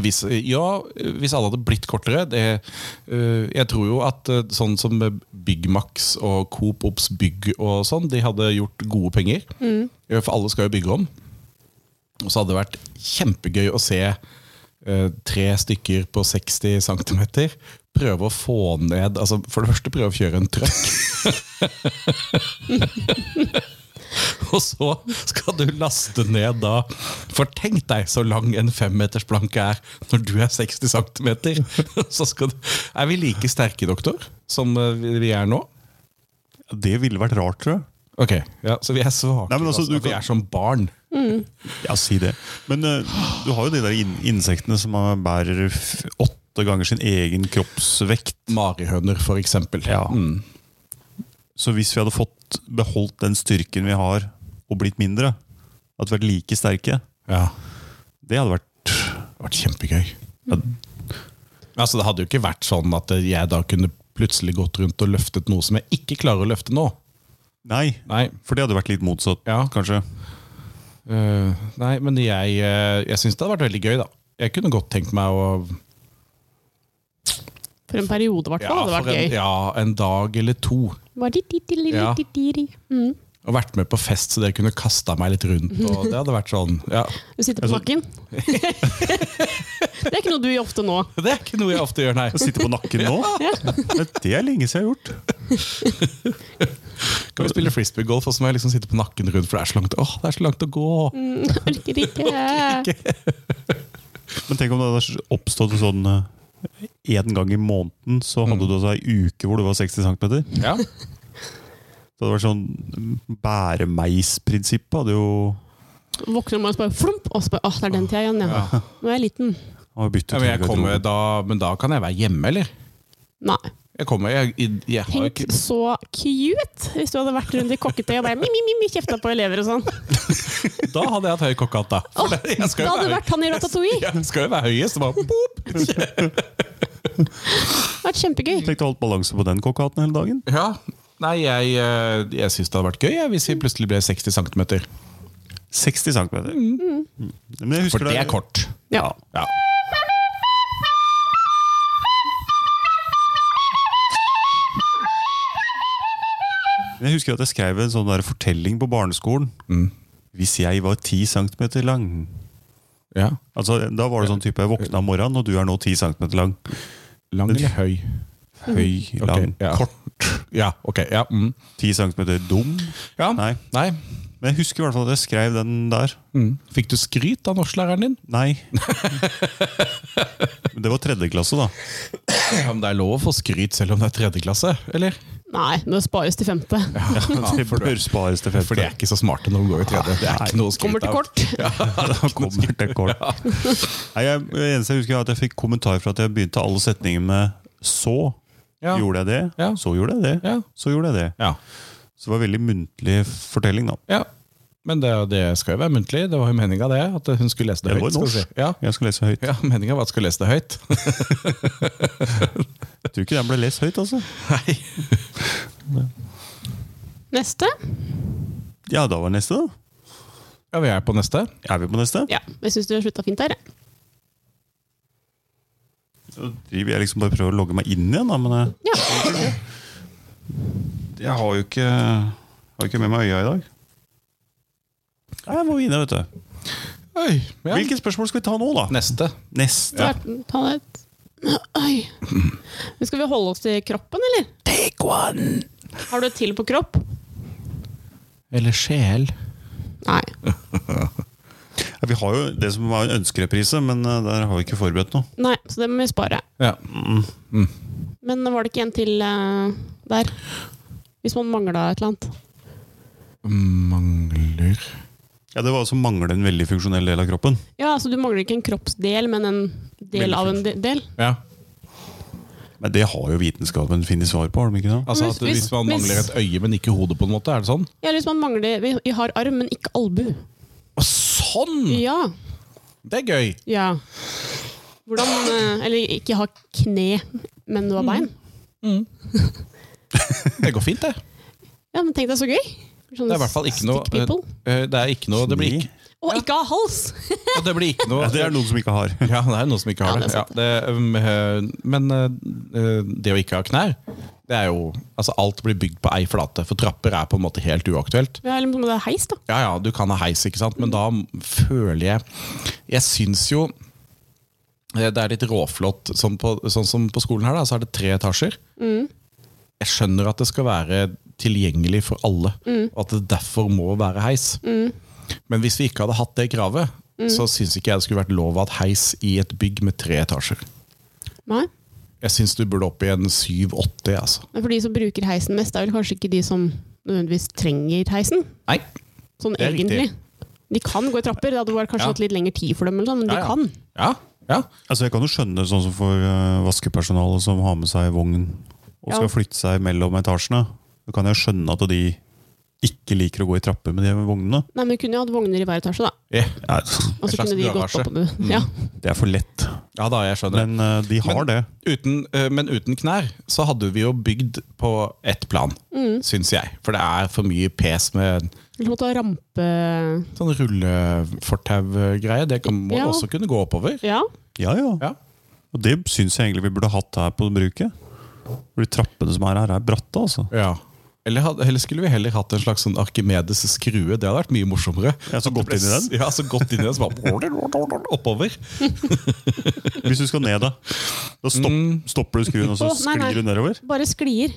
hvis, ja, hvis alle hadde blitt kortere det, eh, Jeg tror jo at eh, sånn som Big Max og Coop Ops Bygg og sånn, de hadde gjort gode penger. Eh, For alle skal jo bygge om. Og så hadde det vært kjempegøy å se eh, tre stykker på 60 cm prøve å få ned altså For det første prøve å kjøre en trøkk. Og så skal du laste ned da For tenk deg så lang en femmetersplanke er når du er 60 cm. Så skal du Er vi like sterke, doktor, som eh, vi vi er nå? Det ville vært rart, tror jeg. Ok, ja, Så vi er svake. Nei, men altså, altså, du vi kan- er som barn. Ja, si det. Men eh, du har jo de der in insektene som eh, bærer f- åtte ganger sin egen kroppsvekt. Marihøner, for eksempel. Ja. Mm. Så hvis vi hadde fått beholdt den styrken vi har, og blitt mindre, at vi vært like sterke, ja. det hadde vært Det hadde vært kjempegøy. Altså, det hadde jo ikke vært sånn at jeg da kunne plutselig gått rundt og løftet noe som jeg ikke klarer å løfte nå. Nei, Nei, for det hadde vært litt motsatt, Ja. kanskje. Eh, nei, men jeg, uh, jeg syns det hadde vært veldig gøy, da. Jeg kunne godt tenkt meg å For en periode, i hvert fall. hadde det for en, vært gøy. ja, en dag eller to. Bare di- di- di- li- Ja. di- di- di. Mm. Og vært med på fest så det kunne kasta meg litt rundt. Og det hadde vært sånn ja. Du sitter på nakken. Det er ikke noe du gjør ofte nå. Det er ikke noe jeg ofte gjør, nei. Å sitte på nakken nå? Men Det er lenge siden jeg har gjort. Kan vi spille frisbeegolf, og så må jeg Mm, liksom sitte på nakken rundt, for det er så langt, åh, det er så langt å gå. Orker ikke. Men tenk om det hadde oppstått sånn eh, en gang i måneden, så Mm. hadde du altså ei uke hvor du var 60 cm. Ja. Så det var sånn bæremeisprinsippet hadde jo Våkner om morgenen og så bare flump, og så bare åh, det er den tida igjen, ja. Nå er jeg liten. har byttet Ja, men, jeg hele kommer, garderoben. da, men da kan jeg være hjemme, eller? Nei. Jeg kommer, jeg, jeg, jeg har Tenk ikke så cute hvis du hadde vært rundt i kokketøy og bare mi, mi, mi, mi, kjefta på elever og sånn. Da hadde jeg hatt høy kokkehatt, da. For det- jeg Da skal jo hadde du være- vært han i Ratatouille. Jeg skal jo være høyest. Bare, boop. Det hadde vært kjempegøy. Tenk deg alt balanse på den kokkehatten hele dagen. Ja. Nei, jeg, eh, jeg syns det hadde vært gøy jeg, hvis vi plutselig ble 60 cm. 60 cm. Mm. Men jeg Mm. For husker det er kort. Ja. Ja. Jeg husker at jeg skrev en sånn der fortelling på barneskolen. Mm. Hvis jeg var 10 cm lang ja. Altså, Da var det sånn type jeg våkna om morgenen, og du er nå 10 cm lang. Lang eller høy? Høy, Ok, lang, ja. kort. Ja, ok. Ja, mm. 10 cm dum. ja. Nei. Nei. Men jeg husker i hvert fall at jeg skrev den der. Mm. Fikk du skryt av norsklæreren din? Nei. Men det var tredje klasse, da. Ja, men Det er lov å få skryt selv om det er tredje klasse, eller? Nei, det spares til femte. det for bør spares til For de er ikke så smarte når de går i tredje. Det er ikke noe å skryte Kommer til av. kort. Da kommer det kort. Nei, jeg, det eneste jeg husker, er at jeg fikk kommentar for at jeg begynte alle setninger med 'så'. Ja. Gjorde jeg det? Ja. Så gjorde jeg det. Ja. Så gjorde jeg det. Ja. Så det var veldig muntlig fortelling, da. ja. Men det, det skal jo være muntlig. Det var jo meninga, det. At hun skulle lese det, Det var høyt. skal jo vi norsk. si. Ja, Jeg skal lese høyt. ja meninga var at jeg skulle lese det høyt. Jeg tror ikke den ble lest høyt, altså. Nei. Neste. Ja, da var neste, da. Ja, vi er på neste. Er vi på neste? Ja, jeg syns du har slutta fint her. jeg. Da driver jeg liksom bare og prøver å logge meg inn igjen, da, men eh, jeg, Ja. jeg har jo ikke, har ikke med meg øya i dag. Nei, Jeg må vinne, vet du. Oi, ja. Hvilke spørsmål skal vi ta nå, da? Neste. Neste. Ta ta et Oi. Men Skal vi holde oss til kroppen, eller? Take one! Har du et til på kropp? Eller sjel. Nei. Ja, vi har jo det som var en ønskereprise, men eh, der har vi ikke forberedt noe. Nei, Så det må vi spare. Ja. Men var det ikke en til eh, der? Hvis man mangla et eller annet. Mangler Ja, Det var altså mangle en veldig funksjonell del av kroppen. Ja, altså Du mangler ikke en kroppsdel, men en del av en de- del. Ja, Men det har jo vitenskapen funnet svar på, har de ikke det? altså at Hvis- Hvis man hvis- mangler et øye, men ikke hodet, på en måte, er det sånn? Ja, liksom man mangler, vi, vi har arm, men ikke albu. Å, sånn! Ja. Det er gøy! ja. Hvordan eh, Eller ikke ha kne, men du har Mm. bein. Det går fint, det. Ja, men Tenk deg så gøy! Det er i hvert fall ikke noe stick people. eh, Det er ikke noe Det blir ikke, Og ikke ha hals! og det blir ikke noe Ja, det er noen som ikke har. Ja, det er noen som ikke har Ja, det. det er sant. Ja, det um, eh, men eh, det å ikke ha knær, det er jo Altså, alt blir bygd på ei flate, for trapper er på en måte helt uaktuelt. Ja, eller må det ha heis, da. Ja, ja, du kan ha heis, ikke sant, men da føler jeg Jeg syns jo eh, det er litt råflott. Sånn, på, sånn som på skolen her, da, så er det tre etasjer. Jeg skjønner at det skal være tilgjengelig for alle, og at det derfor må være heis. Men hvis vi ikke hadde hatt det kravet, så syns ikke jeg det skulle vært lov å ha et heis i et bygg med tre etasjer. Nei. Jeg syns du burde opp i en 7-8, altså. Men For de som bruker heisen mest, det er vel kanskje ikke de som nødvendigvis trenger heisen? Nei. Sånn Det er egentlig. riktig. De kan gå i trapper. Det hadde bare kanskje Ja. hatt litt lengre tid for dem, eller sånn, men Ja, ja. de kan. Ja, ja. Altså, Jeg kan jo skjønne sånn som for eh, vaskepersonalet som har med seg vogn og skal Ja. flytte seg mellom etasjene. Da kan jeg skjønne at de ikke liker å gå i trapper med de vognene. Nei, men de kunne jo hatt vogner i hver etasje, da. Ja, Nei, Og En så slags kunne de gått garasje. Mm. opp på det. Ja. det er for lett. ja da, jeg skjønner. Men eh, de har Men- det. uten, eh, men uten knær så hadde vi jo bygd på ett plan, Mm. syns jeg. For det er for mye pes med Eller måtte ha rampe sånn rullefortau-greie. Det kan, må Ja. også kunne gå oppover. Ja. Ja, ja. Ja. Og det syns jeg egentlig vi burde hatt her på bruket. For de trappene som er her, er bratte, altså. ja. Eller, had- eller skulle vi heller hatt en slags sånn Arkimedes skrue? Det hadde vært mye morsommere. Ja, så At det gått ble inn i den? s- Ja, så gått inn i den, så bare oppover. Hvis du skal ned, da. Da stopp, Mm. stopper du skruen, og så Å, nei, nei. sklir du nedover. Bare sklier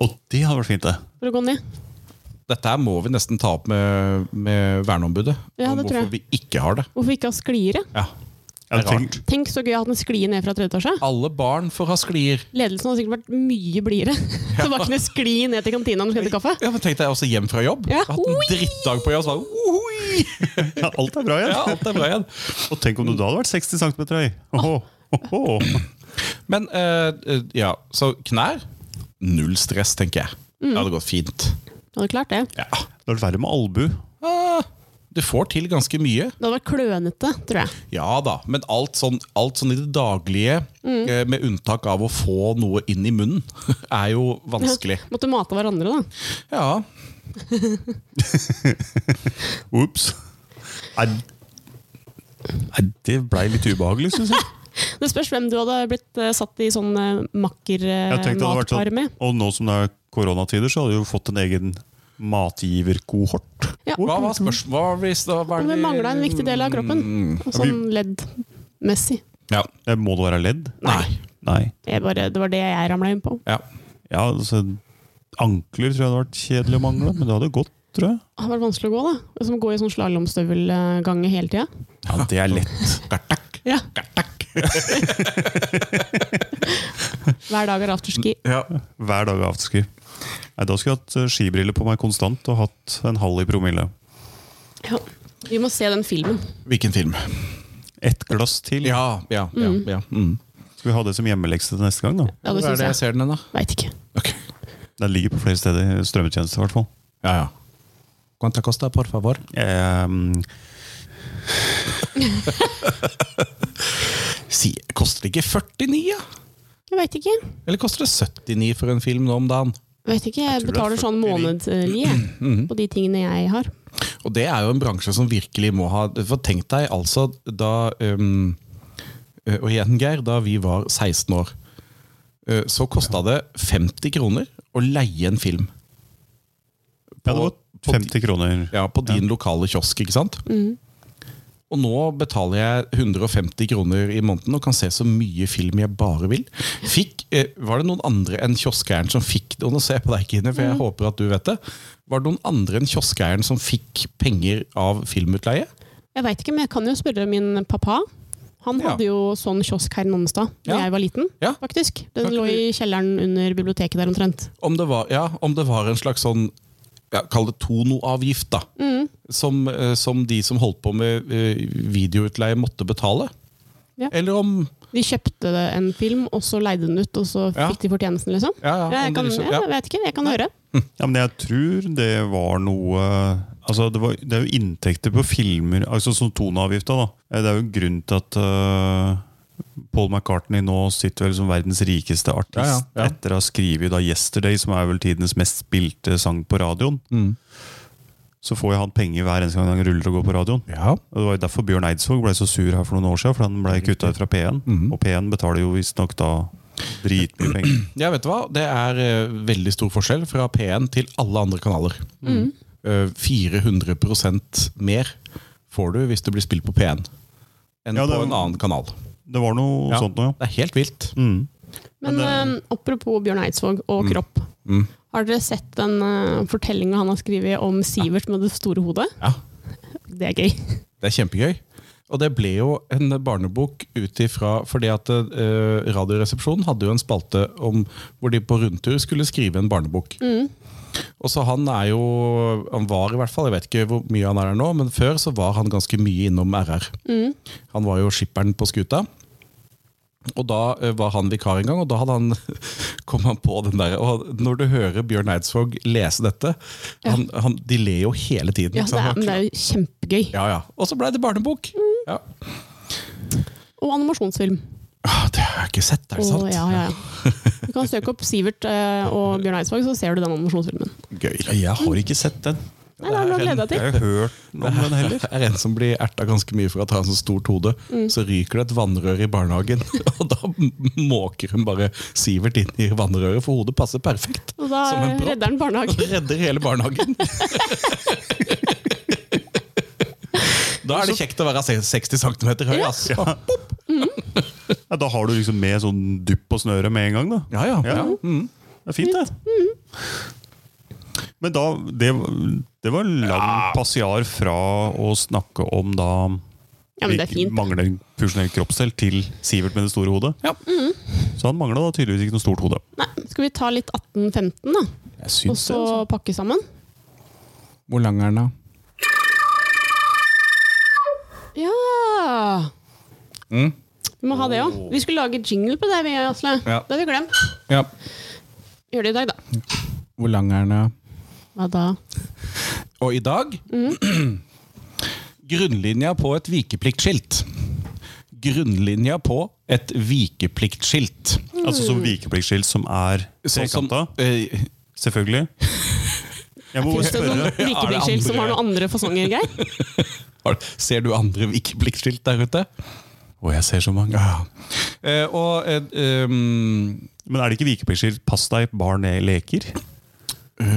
Og det hadde vært fint, det. for å gå ned. Dette her må vi nesten ta opp med, med verneombudet. Ja, om det tror hvorfor vi ikke har det. Hvorfor ikke ha skliere? Ja. Ja, Det er tenk, Tenk så gøy at den sklier ned fra tredje etasje. Alle barn får ha sklier. Ledelsen hadde sikkert vært mye blidere. Så bare kunne skli ned til kantina når du skal hente kaffe. Ja, men Tenk deg også hjem fra jobb. Ja. Hatt en drittdag på jobb. Så bare, ohoi! ja, alt er bra igjen. ja, alt er bra igjen. Og tenk om du da hadde vært 60 cm høy! Åhå, åhå. Men eh, eh, ja, så knær Null stress, tenker jeg. Mm. Det hadde gått fint. Du hadde klart det. Ja. Det hadde vært verre med albu. Ah, du får til ganske mye. Det hadde vært klønete, tror jeg. Ja da, men alt sånn, alt sånn i det daglige, Mm. eh, med unntak av å få noe inn i munnen, er jo vanskelig. Måtte mate hverandre, da. Ja, Ops. Nei, nei, det blei litt ubehagelig, syns jeg. Det spørs hvem du hadde blitt eh, satt i sånn uh, jeg tenkte det hadde vært makkermatpar sånn, med. og nå som det er koronatider, så hadde du jo fått en egen matgiverkohort. Ja. Hva var spørsmålet? Hva, hvis- hva, hva er Om vi det- Mm, mangla en viktig del av kroppen. Sånn leddmessig. Ja. Eh, Må det være ledd? Nei. Nei. Jeg bare- Det var det jeg ramla inn på. Ja. Ja, altså, ankler tror jeg hadde vært kjedelig å mangle, men det hadde gått, tror jeg. Det har vært vanskelig å gå, da. Det er Som å gå i sånn slalåmstøvelgange hele tida. Ja, det er lett. Ja. Hver dag er afterski. ja. Hver dag er afterski. Nei, da skulle jeg hatt eh, skibriller på meg konstant og hatt en halv i promille. Ja. Vi må se den filmen. Hvilken film? Ett glass til. Ja, ja, ja. ja. Mm. Skal vi ha det som hjemmelekse til neste gang, da? Ja, det Hvor er syns det jeg jeg. ser den, da? Veit ikke. Ok. Den ligger på flere steder. Strømmetjeneste, i hvert fall. Ja, ja. Quanta costa, por favor? Ehm, Si, koster det ikke 49, ja? Jeg veit ikke. Eller koster det 79 for en film nå om dagen? Vet ikke, Jeg tror det er Mm-hmm. betaler sånn 49. månedlig jeg, på de tingene jeg har. Og det er jo en bransje som virkelig må ha For tenk deg altså da um, eh, Og igjen, Geir, da vi var 16 år, eh, så kosta det 50 kroner å leie en film. ja, det var På- på 50 kroner. Ja, Mm. på din lokale kiosk, ikke sant? Og nå betaler jeg 150 kroner i måneden og kan se så mye film jeg bare vil. Fikk, eh, var det noen andre enn kioskeieren som fikk og nå ser jeg på deg, Kine, for jeg håper at du vet det. Var det noen andre enn kioskeieren som fikk penger av filmutleie? Jeg vet ikke, men jeg kan jo spørre min pappa. Han Ja. hadde jo sånn kiosk her i Nonstad da Ja. jeg var liten. Ja. faktisk. Kan Den ikke lå i kjelleren under biblioteket der omtrent. Om det var, ja, om det var en slags sånn ja, Kall det tonoavgift, da. Som, eh, som de som holdt på med eh, videoutleie, måtte betale. Ja. Eller om De kjøpte en film, og så leide den ut, og så Ja. fikk de fortjenesten, liksom. Ja, ja, om jeg, det kan, liksom- ja, ja. jeg vet ikke, jeg kan høre. Ja, men jeg tror det var noe Altså, det, var, det er jo inntekter på filmer, altså som toneavgifta, da. Eh, Det er jo en grunn til at eh, Paul McCartney nå sitter vel som verdens rikeste artist Ja, ja, ja. etter å ha skrevet da 'Yesterday', som er vel tidenes mest spilte sang på radioen. Mm. Så får jo han penger hver eneste gang han ruller og går på radioen. Ja. Og Det var jo derfor Bjørn Eidsvåg ble så sur her for noen år siden, for han ble kutta ut fra P1. Mm. Og P1 betaler jo visstnok da dritmye penger. Ja, vet du hva? Det er eh, veldig stor forskjell fra P1 til alle andre kanaler. Eh, 400 mer får du hvis det blir spilt på P1 enn Ja, det- på en annen kanal. Det var noe Ja, sånt noe, ja. Det er helt vilt. Mm. Men eh, apropos Bjørn Eidsvåg Mm. og kropp. Har dere sett den uh, fortellinga han har skrevet om Sivert med det store hodet? Ja, Det er gøy. Det er kjempegøy. Og det ble jo en barnebok ut ifra Fordi at eh, Radioresepsjonen hadde jo en spalte om hvor de på rundtur skulle skrive en barnebok. Mm. Og så han er jo Han var i hvert fall, jeg vet ikke hvor mye han er her nå, men før så var han ganske mye innom RR. Mm. Han var jo skipperen på skuta. Og da eh, var han vikar en gang, og da hadde han, kom han på den der Og når du hører Bjørn Eidsvåg lese dette han, han, De ler jo hele tiden. Ja, ikke det sant? er, men det er jo kjempegøy. Ja, ja. Og så blei det barnebok. Ja. Og animasjonsfilm. Ah, Det har jeg ikke sett, er det Å, sant? ja, ja, ja. Du kan søke opp Sivert eh, og Bjørn Eidsvåg, så ser du den animasjonsfilmen. Gøy. Jeg har ikke sett den. Nei, det har du gleda Jeg til. har jo hørt om den heller. Det er en som blir erta ganske mye for at han har så sånn stort hode. Mm. Så ryker det et vannrør i barnehagen, og da m- måker hun bare Sivert inn i vannrøret, for hodet passer perfekt. Og da Som en propp. redder han Og barnehagen. redder hele barnehagen. Da er det kjekt å være se- 60 cm høy, ass. Ja, Ja, da har du liksom med sånn dupp på snøret med en gang, da. ja. ja. Ja. Mm. Det er fint, det. Mm. Men da Det, det var lang passiar fra å snakke om da Ja, men det er fint. mangler en funksjonell kroppsdel til Sivert med det store hodet. Ja. Så han mangla tydeligvis ikke noe stort hode. Nei, skal vi ta litt 1815, da? Jeg Og syns det. så altså. pakke sammen? Hvor lang er den, da? Ja! Mm. Vi må ha det òg. Vi skulle lage jingle på det, vi, Asle. Ja. Det har vi glemt. Ja. Gjør det i dag, da. Hvor lang er den, da? Hva da? Og i dag Mm. Grunnlinja på et vikepliktskilt. Grunnlinja på et vikepliktskilt. Mm. Altså som vikepliktskilt som er Sånn som- trekanta. eh, Selvfølgelig. Jeg må bare Fins det noen spørre likeblikkskilt som har noen andre fasonger, Geir? har- ser du andre vikepliktskilt der ute? Å, jeg ser så mange. Ja. Eh, og eh, ehm, Men er det ikke vikepliktskilt 'pass deg, barn er leker'?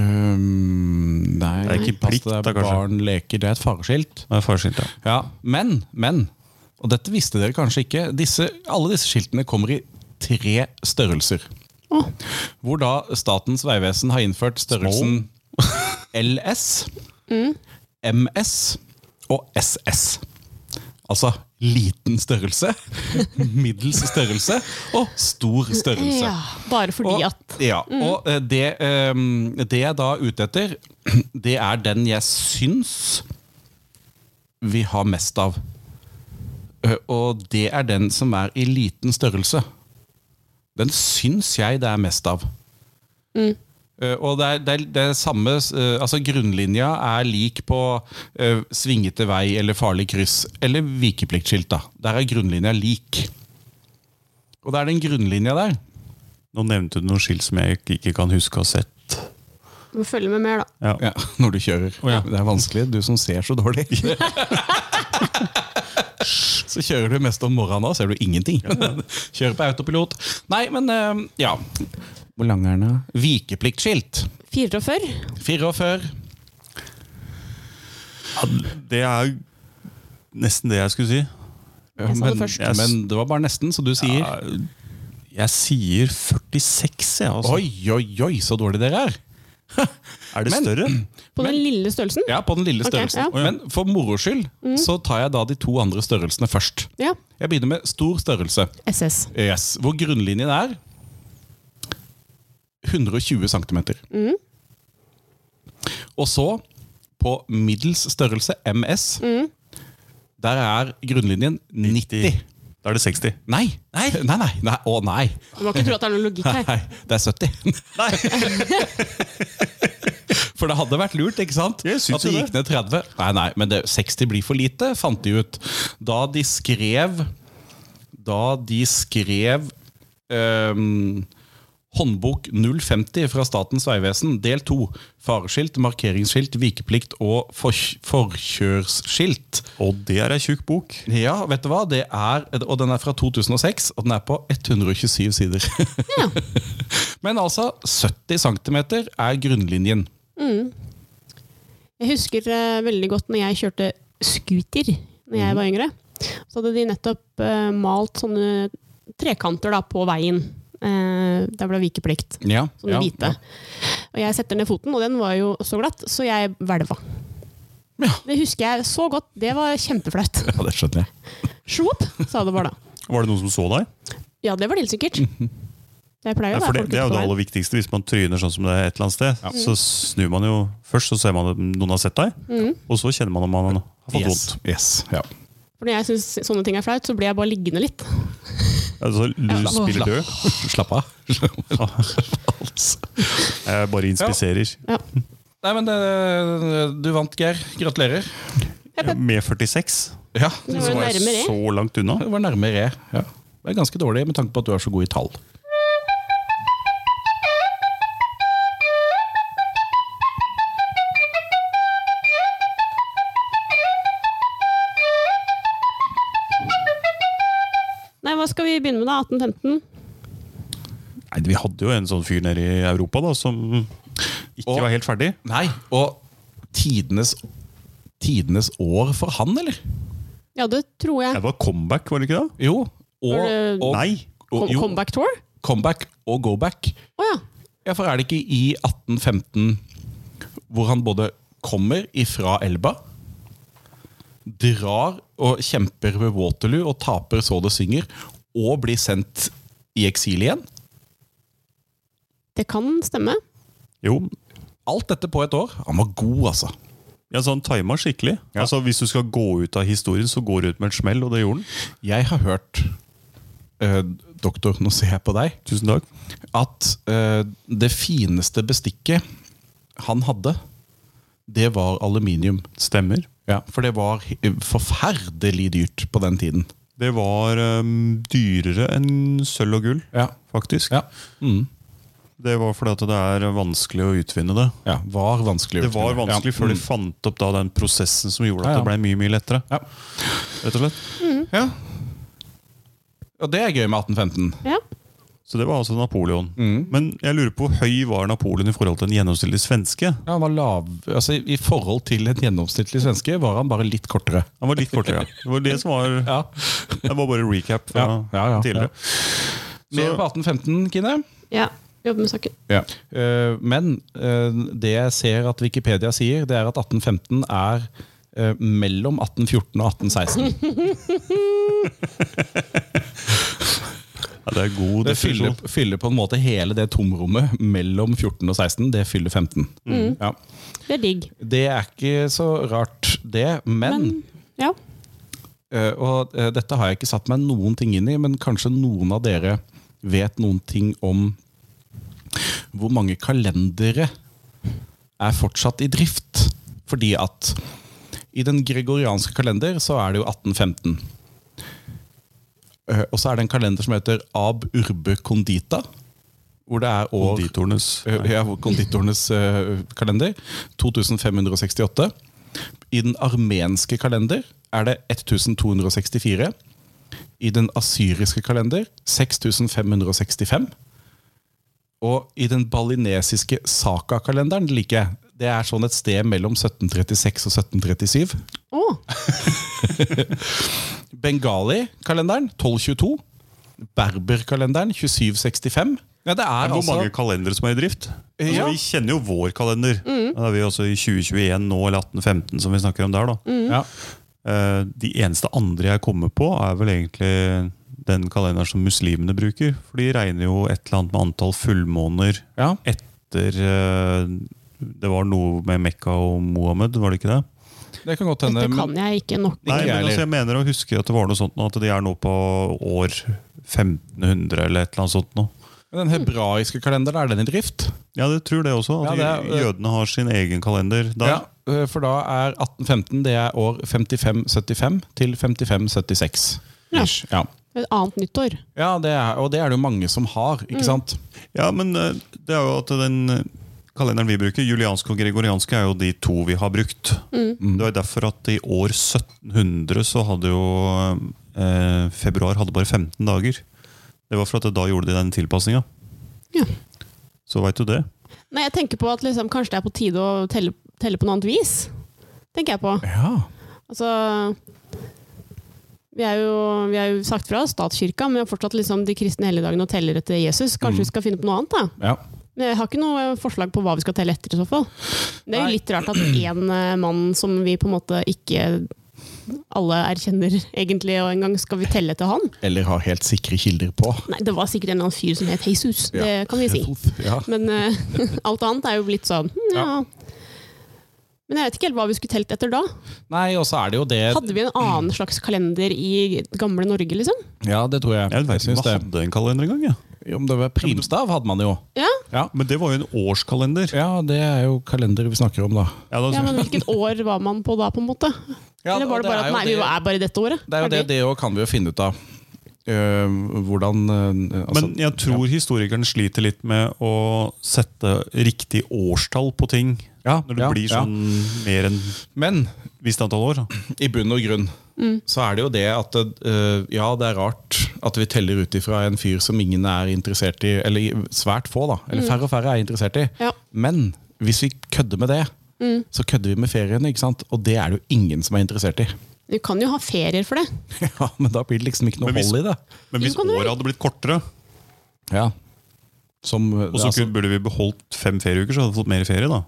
ehm, Nei, Det er ikke pass plikt, deg, da, kanskje? Barn leker, det er et fareskilt. Det er farskilt, ja. Ja, men, men Og dette visste dere kanskje ikke. Disse, alle disse skiltene kommer i tre størrelser. Åh, Hvor da Statens vegvesen har innført størrelsen LS, MS og SS. Altså liten størrelse, middels størrelse og stor størrelse. ja. Bare fordi Og- at Mm. Ja, og eh, det, ehm, det jeg da er ute etter, det er den jeg syns vi har mest av. Ø, Og det er den som er i liten størrelse. Den syns jeg det er mest av. Mm. Ø, Og det er, det er, det er samme ø, altså Grunnlinja er lik på ø, svingete vei eller farlig kryss eller vikepliktskilt. da. Der er grunnlinja lik. Og det er den grunnlinja der. Nå nevnte du noen skilt som jeg ikke- ikke kan huske å ha sett. Du må følge med mer, da. Ja. Ja, når du kjører. Å, ja. Det er vanskelig, du som ser så dårlig. så kjører du mest om morgenen, da ser du ingenting. Kjører på autopilot. Nei, men eh, ja. Hvor lang er den? da? Vikepliktskilt. 44. 44. Det er nesten det jeg skulle si. Ja, Jeg sa det men, først. yes. men det var bare nesten, så du sier Ja, Jeg sier 46, jeg. Altså. Oi, oi, oi, så dårlig dere er! Er det Men- større? På den lille størrelsen? Ja, på den lille Ok, størrelsen. ja. Mm. Men for moro skyld så tar jeg da de to andre størrelsene først. Ja. Jeg begynner med stor størrelse. SS. Yes, Hvor grunnlinjen er 120 cm. Og så, på middels størrelse, MS, der er grunnlinjen 90. Da er det 60. Nei! Nei, nei, nei, nei. Å nei. Du må ikke tro at det er noe logikk her. nei! Det er 70. For det hadde vært lurt, ikke sant? Jeg syns At det jo gikk ned 30. Nei, nei, men det, 60 blir for lite, fant de ut. Da de skrev Da de skrev ehm, Håndbok 050 fra Statens vegvesen, del 2. Fareskilt, markeringsskilt, vikeplikt og fork- forkjørsskilt. Og det er ei tjukk bok. Ja, vet du hva? Det er, og den er fra 2006, og den er på 127 sider. Ja. Men altså, 70 cm er grunnlinjen. Jeg husker eh, veldig godt når jeg kjørte scooter når Mhm. jeg var yngre. Så hadde de nettopp eh, malt sånne trekanter da, på veien. Eh, der ble vikeplikt. Ja, Sånne ja, hvite. Og jeg setter ned foten, og den var jo så glatt, så jeg hvelva. Ja. Det husker jeg så godt. Det var kjempeflaut. Ja, det skjønner jeg. Sjo opp, sa det bare da. Var det noen som så deg? Ja, det var det helt sikkert. Jeg pleier å Mhm. Ja, for være det, folk ute det er jo på det veien. aller viktigste. Hvis man tryner sånn som det er et eller annet sted, så snur man jo Først så ser man at noen har sett deg, Mhm. og så kjenner man om man har fått Yes, vondt. yes, ja. For når jeg syns sånne ting er flaut, så blir jeg bare liggende litt. Altså, Ja. du spiller død. Slapp av. Jeg bare inspiserer. Ja. Nei, men eh, du vant, Geir. Gratulerer. Med 46 Ja, Det var så jo var jeg nærmere. så langt unna. det var nærmere. Ja. Det er ganske dårlig med tanke på at du er så god i tall. Nei, hva skal vi begynne med da? 1815? Nei, vi hadde jo en sånn fyr nede i Europa da, som ikke Og- var helt ferdig. Nei, og tidenes, tidenes år for han, eller? Ja, det tror jeg. Det var comeback, var det ikke det? Jo. Og, Var det- og, Nei. og, Kom, jo, comeback tour? comeback og go back. Å ja. Ja, for er det ikke i 1815 hvor han både kommer ifra elva drar og kjemper ved Waterloo og taper så det synger, og blir sendt i eksil igjen. Det kan stemme. Jo, Alt dette på et år. Han var god, altså. ja, så han tima skikkelig. Ja. Altså, Hvis du skal gå ut av historien, så går du ut med en smell, og det gjorde han. Jeg har hørt eh, Doktor, nå ser jeg på deg. Tusen takk. At eh, det fineste bestikket han hadde, det var aluminium. Stemmer. Ja, For det var he- forferdelig dyrt på den tiden. Det var ehm, dyrere enn sølv og gull, Ja. faktisk. Ja. Mm. Det var fordi at det er vanskelig å utvinne det. ja var vanskelig. å Det var utvinne. vanskelig ja. før de Mm. fant opp da den prosessen som gjorde Ja, at ja. det ble mye mye lettere. Ja. rett og slett. Ja. Og det er gøy med 1815. Ja. Så det var altså Napoleon. Mm. Men jeg lurer på hvor høy var Napoleon i forhold til den gjennomsnittlige svenske? Ja, han var lav, altså I i forhold til en gjennomsnittlig svenske var han bare litt kortere. Han var litt kortere, ja. Det var det som var Ja, Det var bare recap fra ja, ja, ja. tidligere. Mer på 1815, Kine. ja. Jobb med saken. Eh, men eh, det jeg ser at Wikipedia sier, det er at 1815 er eh, mellom 1814 og 1816. Ja, det er god Det definisjon. fyller, fyller på en måte hele det tomrommet mellom 14 og 16. Det fyller 15. Ja. Det er digg. Det er ikke så rart, det. men Men ja. Eh, og eh, dette har jeg ikke satt meg noen ting inn i, men kanskje noen av dere vet noen ting om hvor mange kalendere er fortsatt i drift. Fordi at i den gregorianske kalender så er det jo 1815. Eh, og så er det en kalender som heter Ab Urbe Condita. Hvor det er år Konditorenes Eh, ja, konditorenes eh, kalender. 2568. I den armenske kalender er det 1264. I den asyriske kalender 6565. Og i den balinesiske Saka-kalenderen liker jeg. Det er sånn et sted mellom 1736 og 1737. Å! Bengali-kalenderen 1222. Berber-kalenderen 2765. Ja, det Det er er Hvor altså mange kalendere som er i drift? Altså, Ja. Mm. Vi kjenner jo vår kalender. Da er vi også i 2021 nå, eller 1815, som vi snakker om der. da. ja. Eh, De eneste andre jeg kommer på, er vel egentlig den kalenderen som muslimene bruker. For de regner jo et eller annet med antall fullmåner ja. etter eh, Det var noe med Mekka og Mohammed, var det ikke det? Det kan godt hende. Dette men- kan jeg ikke nok. Ikke Nei, jeg men altså, heller. jeg mener å huske at det var noe sånt nå, at de er nå på år 1500 eller et eller annet sånt nå. Men Den hebraiske kalenderen, er den i drift? Ja, jeg tror det også. At Ja, det er- jødene har sin egen kalender der. Eh, For da er 1815 det er år 5575 til 5576. Ja. Ish, Ja. Et annet nyttår. ja det er, og det er det jo mange som har, Mm. ikke sant? Ja, men eh, det er jo at den eh, kalenderen vi bruker, julianske og gregorianske, er jo de to vi har brukt. Mm. Mm. Det var derfor at i år 1700 så hadde jo eh, februar hadde bare 15 dager. Det var for at da gjorde de den tilpasninga. Ja. Så veit du det. Nei, jeg tenker på at liksom, kanskje det er på tide å telle, telle på noe annet vis. Tenker jeg på. Ja. Altså vi er, jo, vi er jo sagt fra statskirka, men vi har fortsatt liksom de kristne helligdagene og teller etter Jesus. Kanskje vi skal finne på noe annet? da? ja. Men jeg har ikke noe forslag på hva vi skal telle etter i så fall. Det er Nei. jo litt rart at én eh, mann som vi på en måte ikke alle erkjenner egentlig, og engang skal vi telle etter han? Eller har helt sikre kilder på. Nei, det var sikkert en eller annen fyr som het Jesus, Ja. det kan vi si. Ja. Men eh, alt annet er jo blitt sånn, hm, ja. Men jeg vet ikke helt hva vi skulle telt etter da. Nei, og så er det jo det Hadde vi en annen slags kalender i gamle Norge, liksom? Ja, det tror jeg. Jeg vet syns ikke om jeg det. hadde en kalender engang. Ja. Jo, men det var primstav hadde man jo. Ja, Ja. Men det var jo en årskalender. ja, det er jo kalender vi snakker om, da. Ja, da, ja men hvilket år var man på da, på en måte? Ja, Eller var det og bare er at jo nei, vi er bare i dette året? Det er jo det, Ferdig. det òg kan vi jo finne ut av. Eh, hvordan eh, altså, Men jeg tror historikeren sliter litt med å sette riktig årstall på ting. Ja, Når det ja, blir ja. sånn mer enn Men visst antall år. da. i bunn og grunn Mm. så er det jo det at eh, ja, det er rart at vi teller ut ifra en fyr som ingen er interessert i, eller i- svært få, da. Eller færre og færre er interessert i. Mm. Ja. Mm. Men hvis vi kødder med det, så kødder vi med feriene, ikke sant? og det er det jo ingen som er interessert i. Vi kan jo ha ferier for det. ja, Men da blir det liksom ikke noe Men hvis- hold i det. Men hvis Jo, kan du- året hadde blitt kortere, Ja. Som, og så altså, kunne- burde vi beholdt fem ferieuker, så hadde vi fått mer ferie. da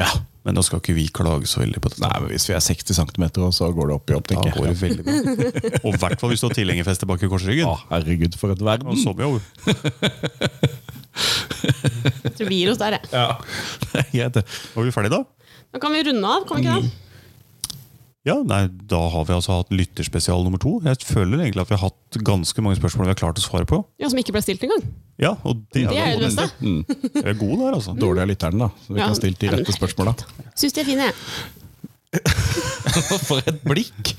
Ja. Men da skal ikke vi klage så veldig på dette. Nei, men Hvis vi er 60 cm, så går det opp i opp, Da tenker går det jeg. veldig bra. Og i hvert fall hvis du har tilhengerfeste bak i korsryggen. Å, herregud, for et Og verden! sommerjobb. Jeg tror vi gir oss der, jeg. Ja. Jeg heter- Var vi ferdige da? Da kan vi runde av, kan vi ikke det? Ja, nei, Da har vi altså hatt lytterspesial nummer to. Jeg føler egentlig at vi har hatt ganske mange spørsmål vi har klart å svare på. Ja, som ikke ble stilt engang. Ja, og det, Det er er jo det jo beste. Vi er gode der, altså. Mm. Dårlig av lytteren, da. Så vi Ja. kan stille de Ja, men- rette spørsmåla. Syns de er fine, jeg. For et blikk!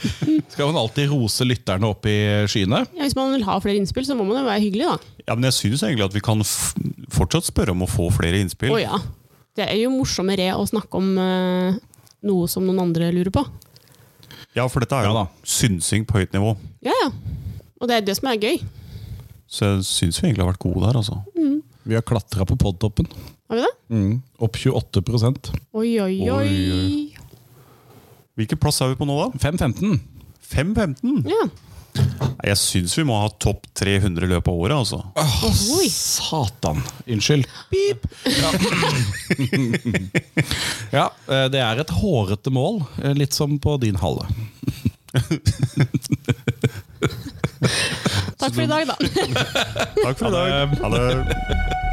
Skal man alltid rose lytterne opp i skyene? Ja, hvis man vil ha flere innspill, så må man jo være hyggelig, da. Ja, Men jeg syns egentlig at vi kan f fortsatt spørre om å få flere Å innspill. ja. Det er jo morsommere å snakke om eh, noe som noen andre lurer på. Ja, for dette er Ja jo da. synsing på høyt nivå. Ja, ja. Og det er det som er gøy. Så jeg syns vi egentlig har vært gode der, altså. Vi har klatra på podtoppen. Mm. Har vi det? Opp 28 Oi, oi, oi. Oi, oi. Hvilken plass er vi på nå, da? 5-15. 5-15? Ja. Nei, Jeg syns vi må ha topp 300 i løpet av året, altså. Oi. Satan! Unnskyld. Ja. ja, eh, det er et hårete mål. eh, Litt som på din halve. Takk for i dag, da. Takk for i dag. Ha det.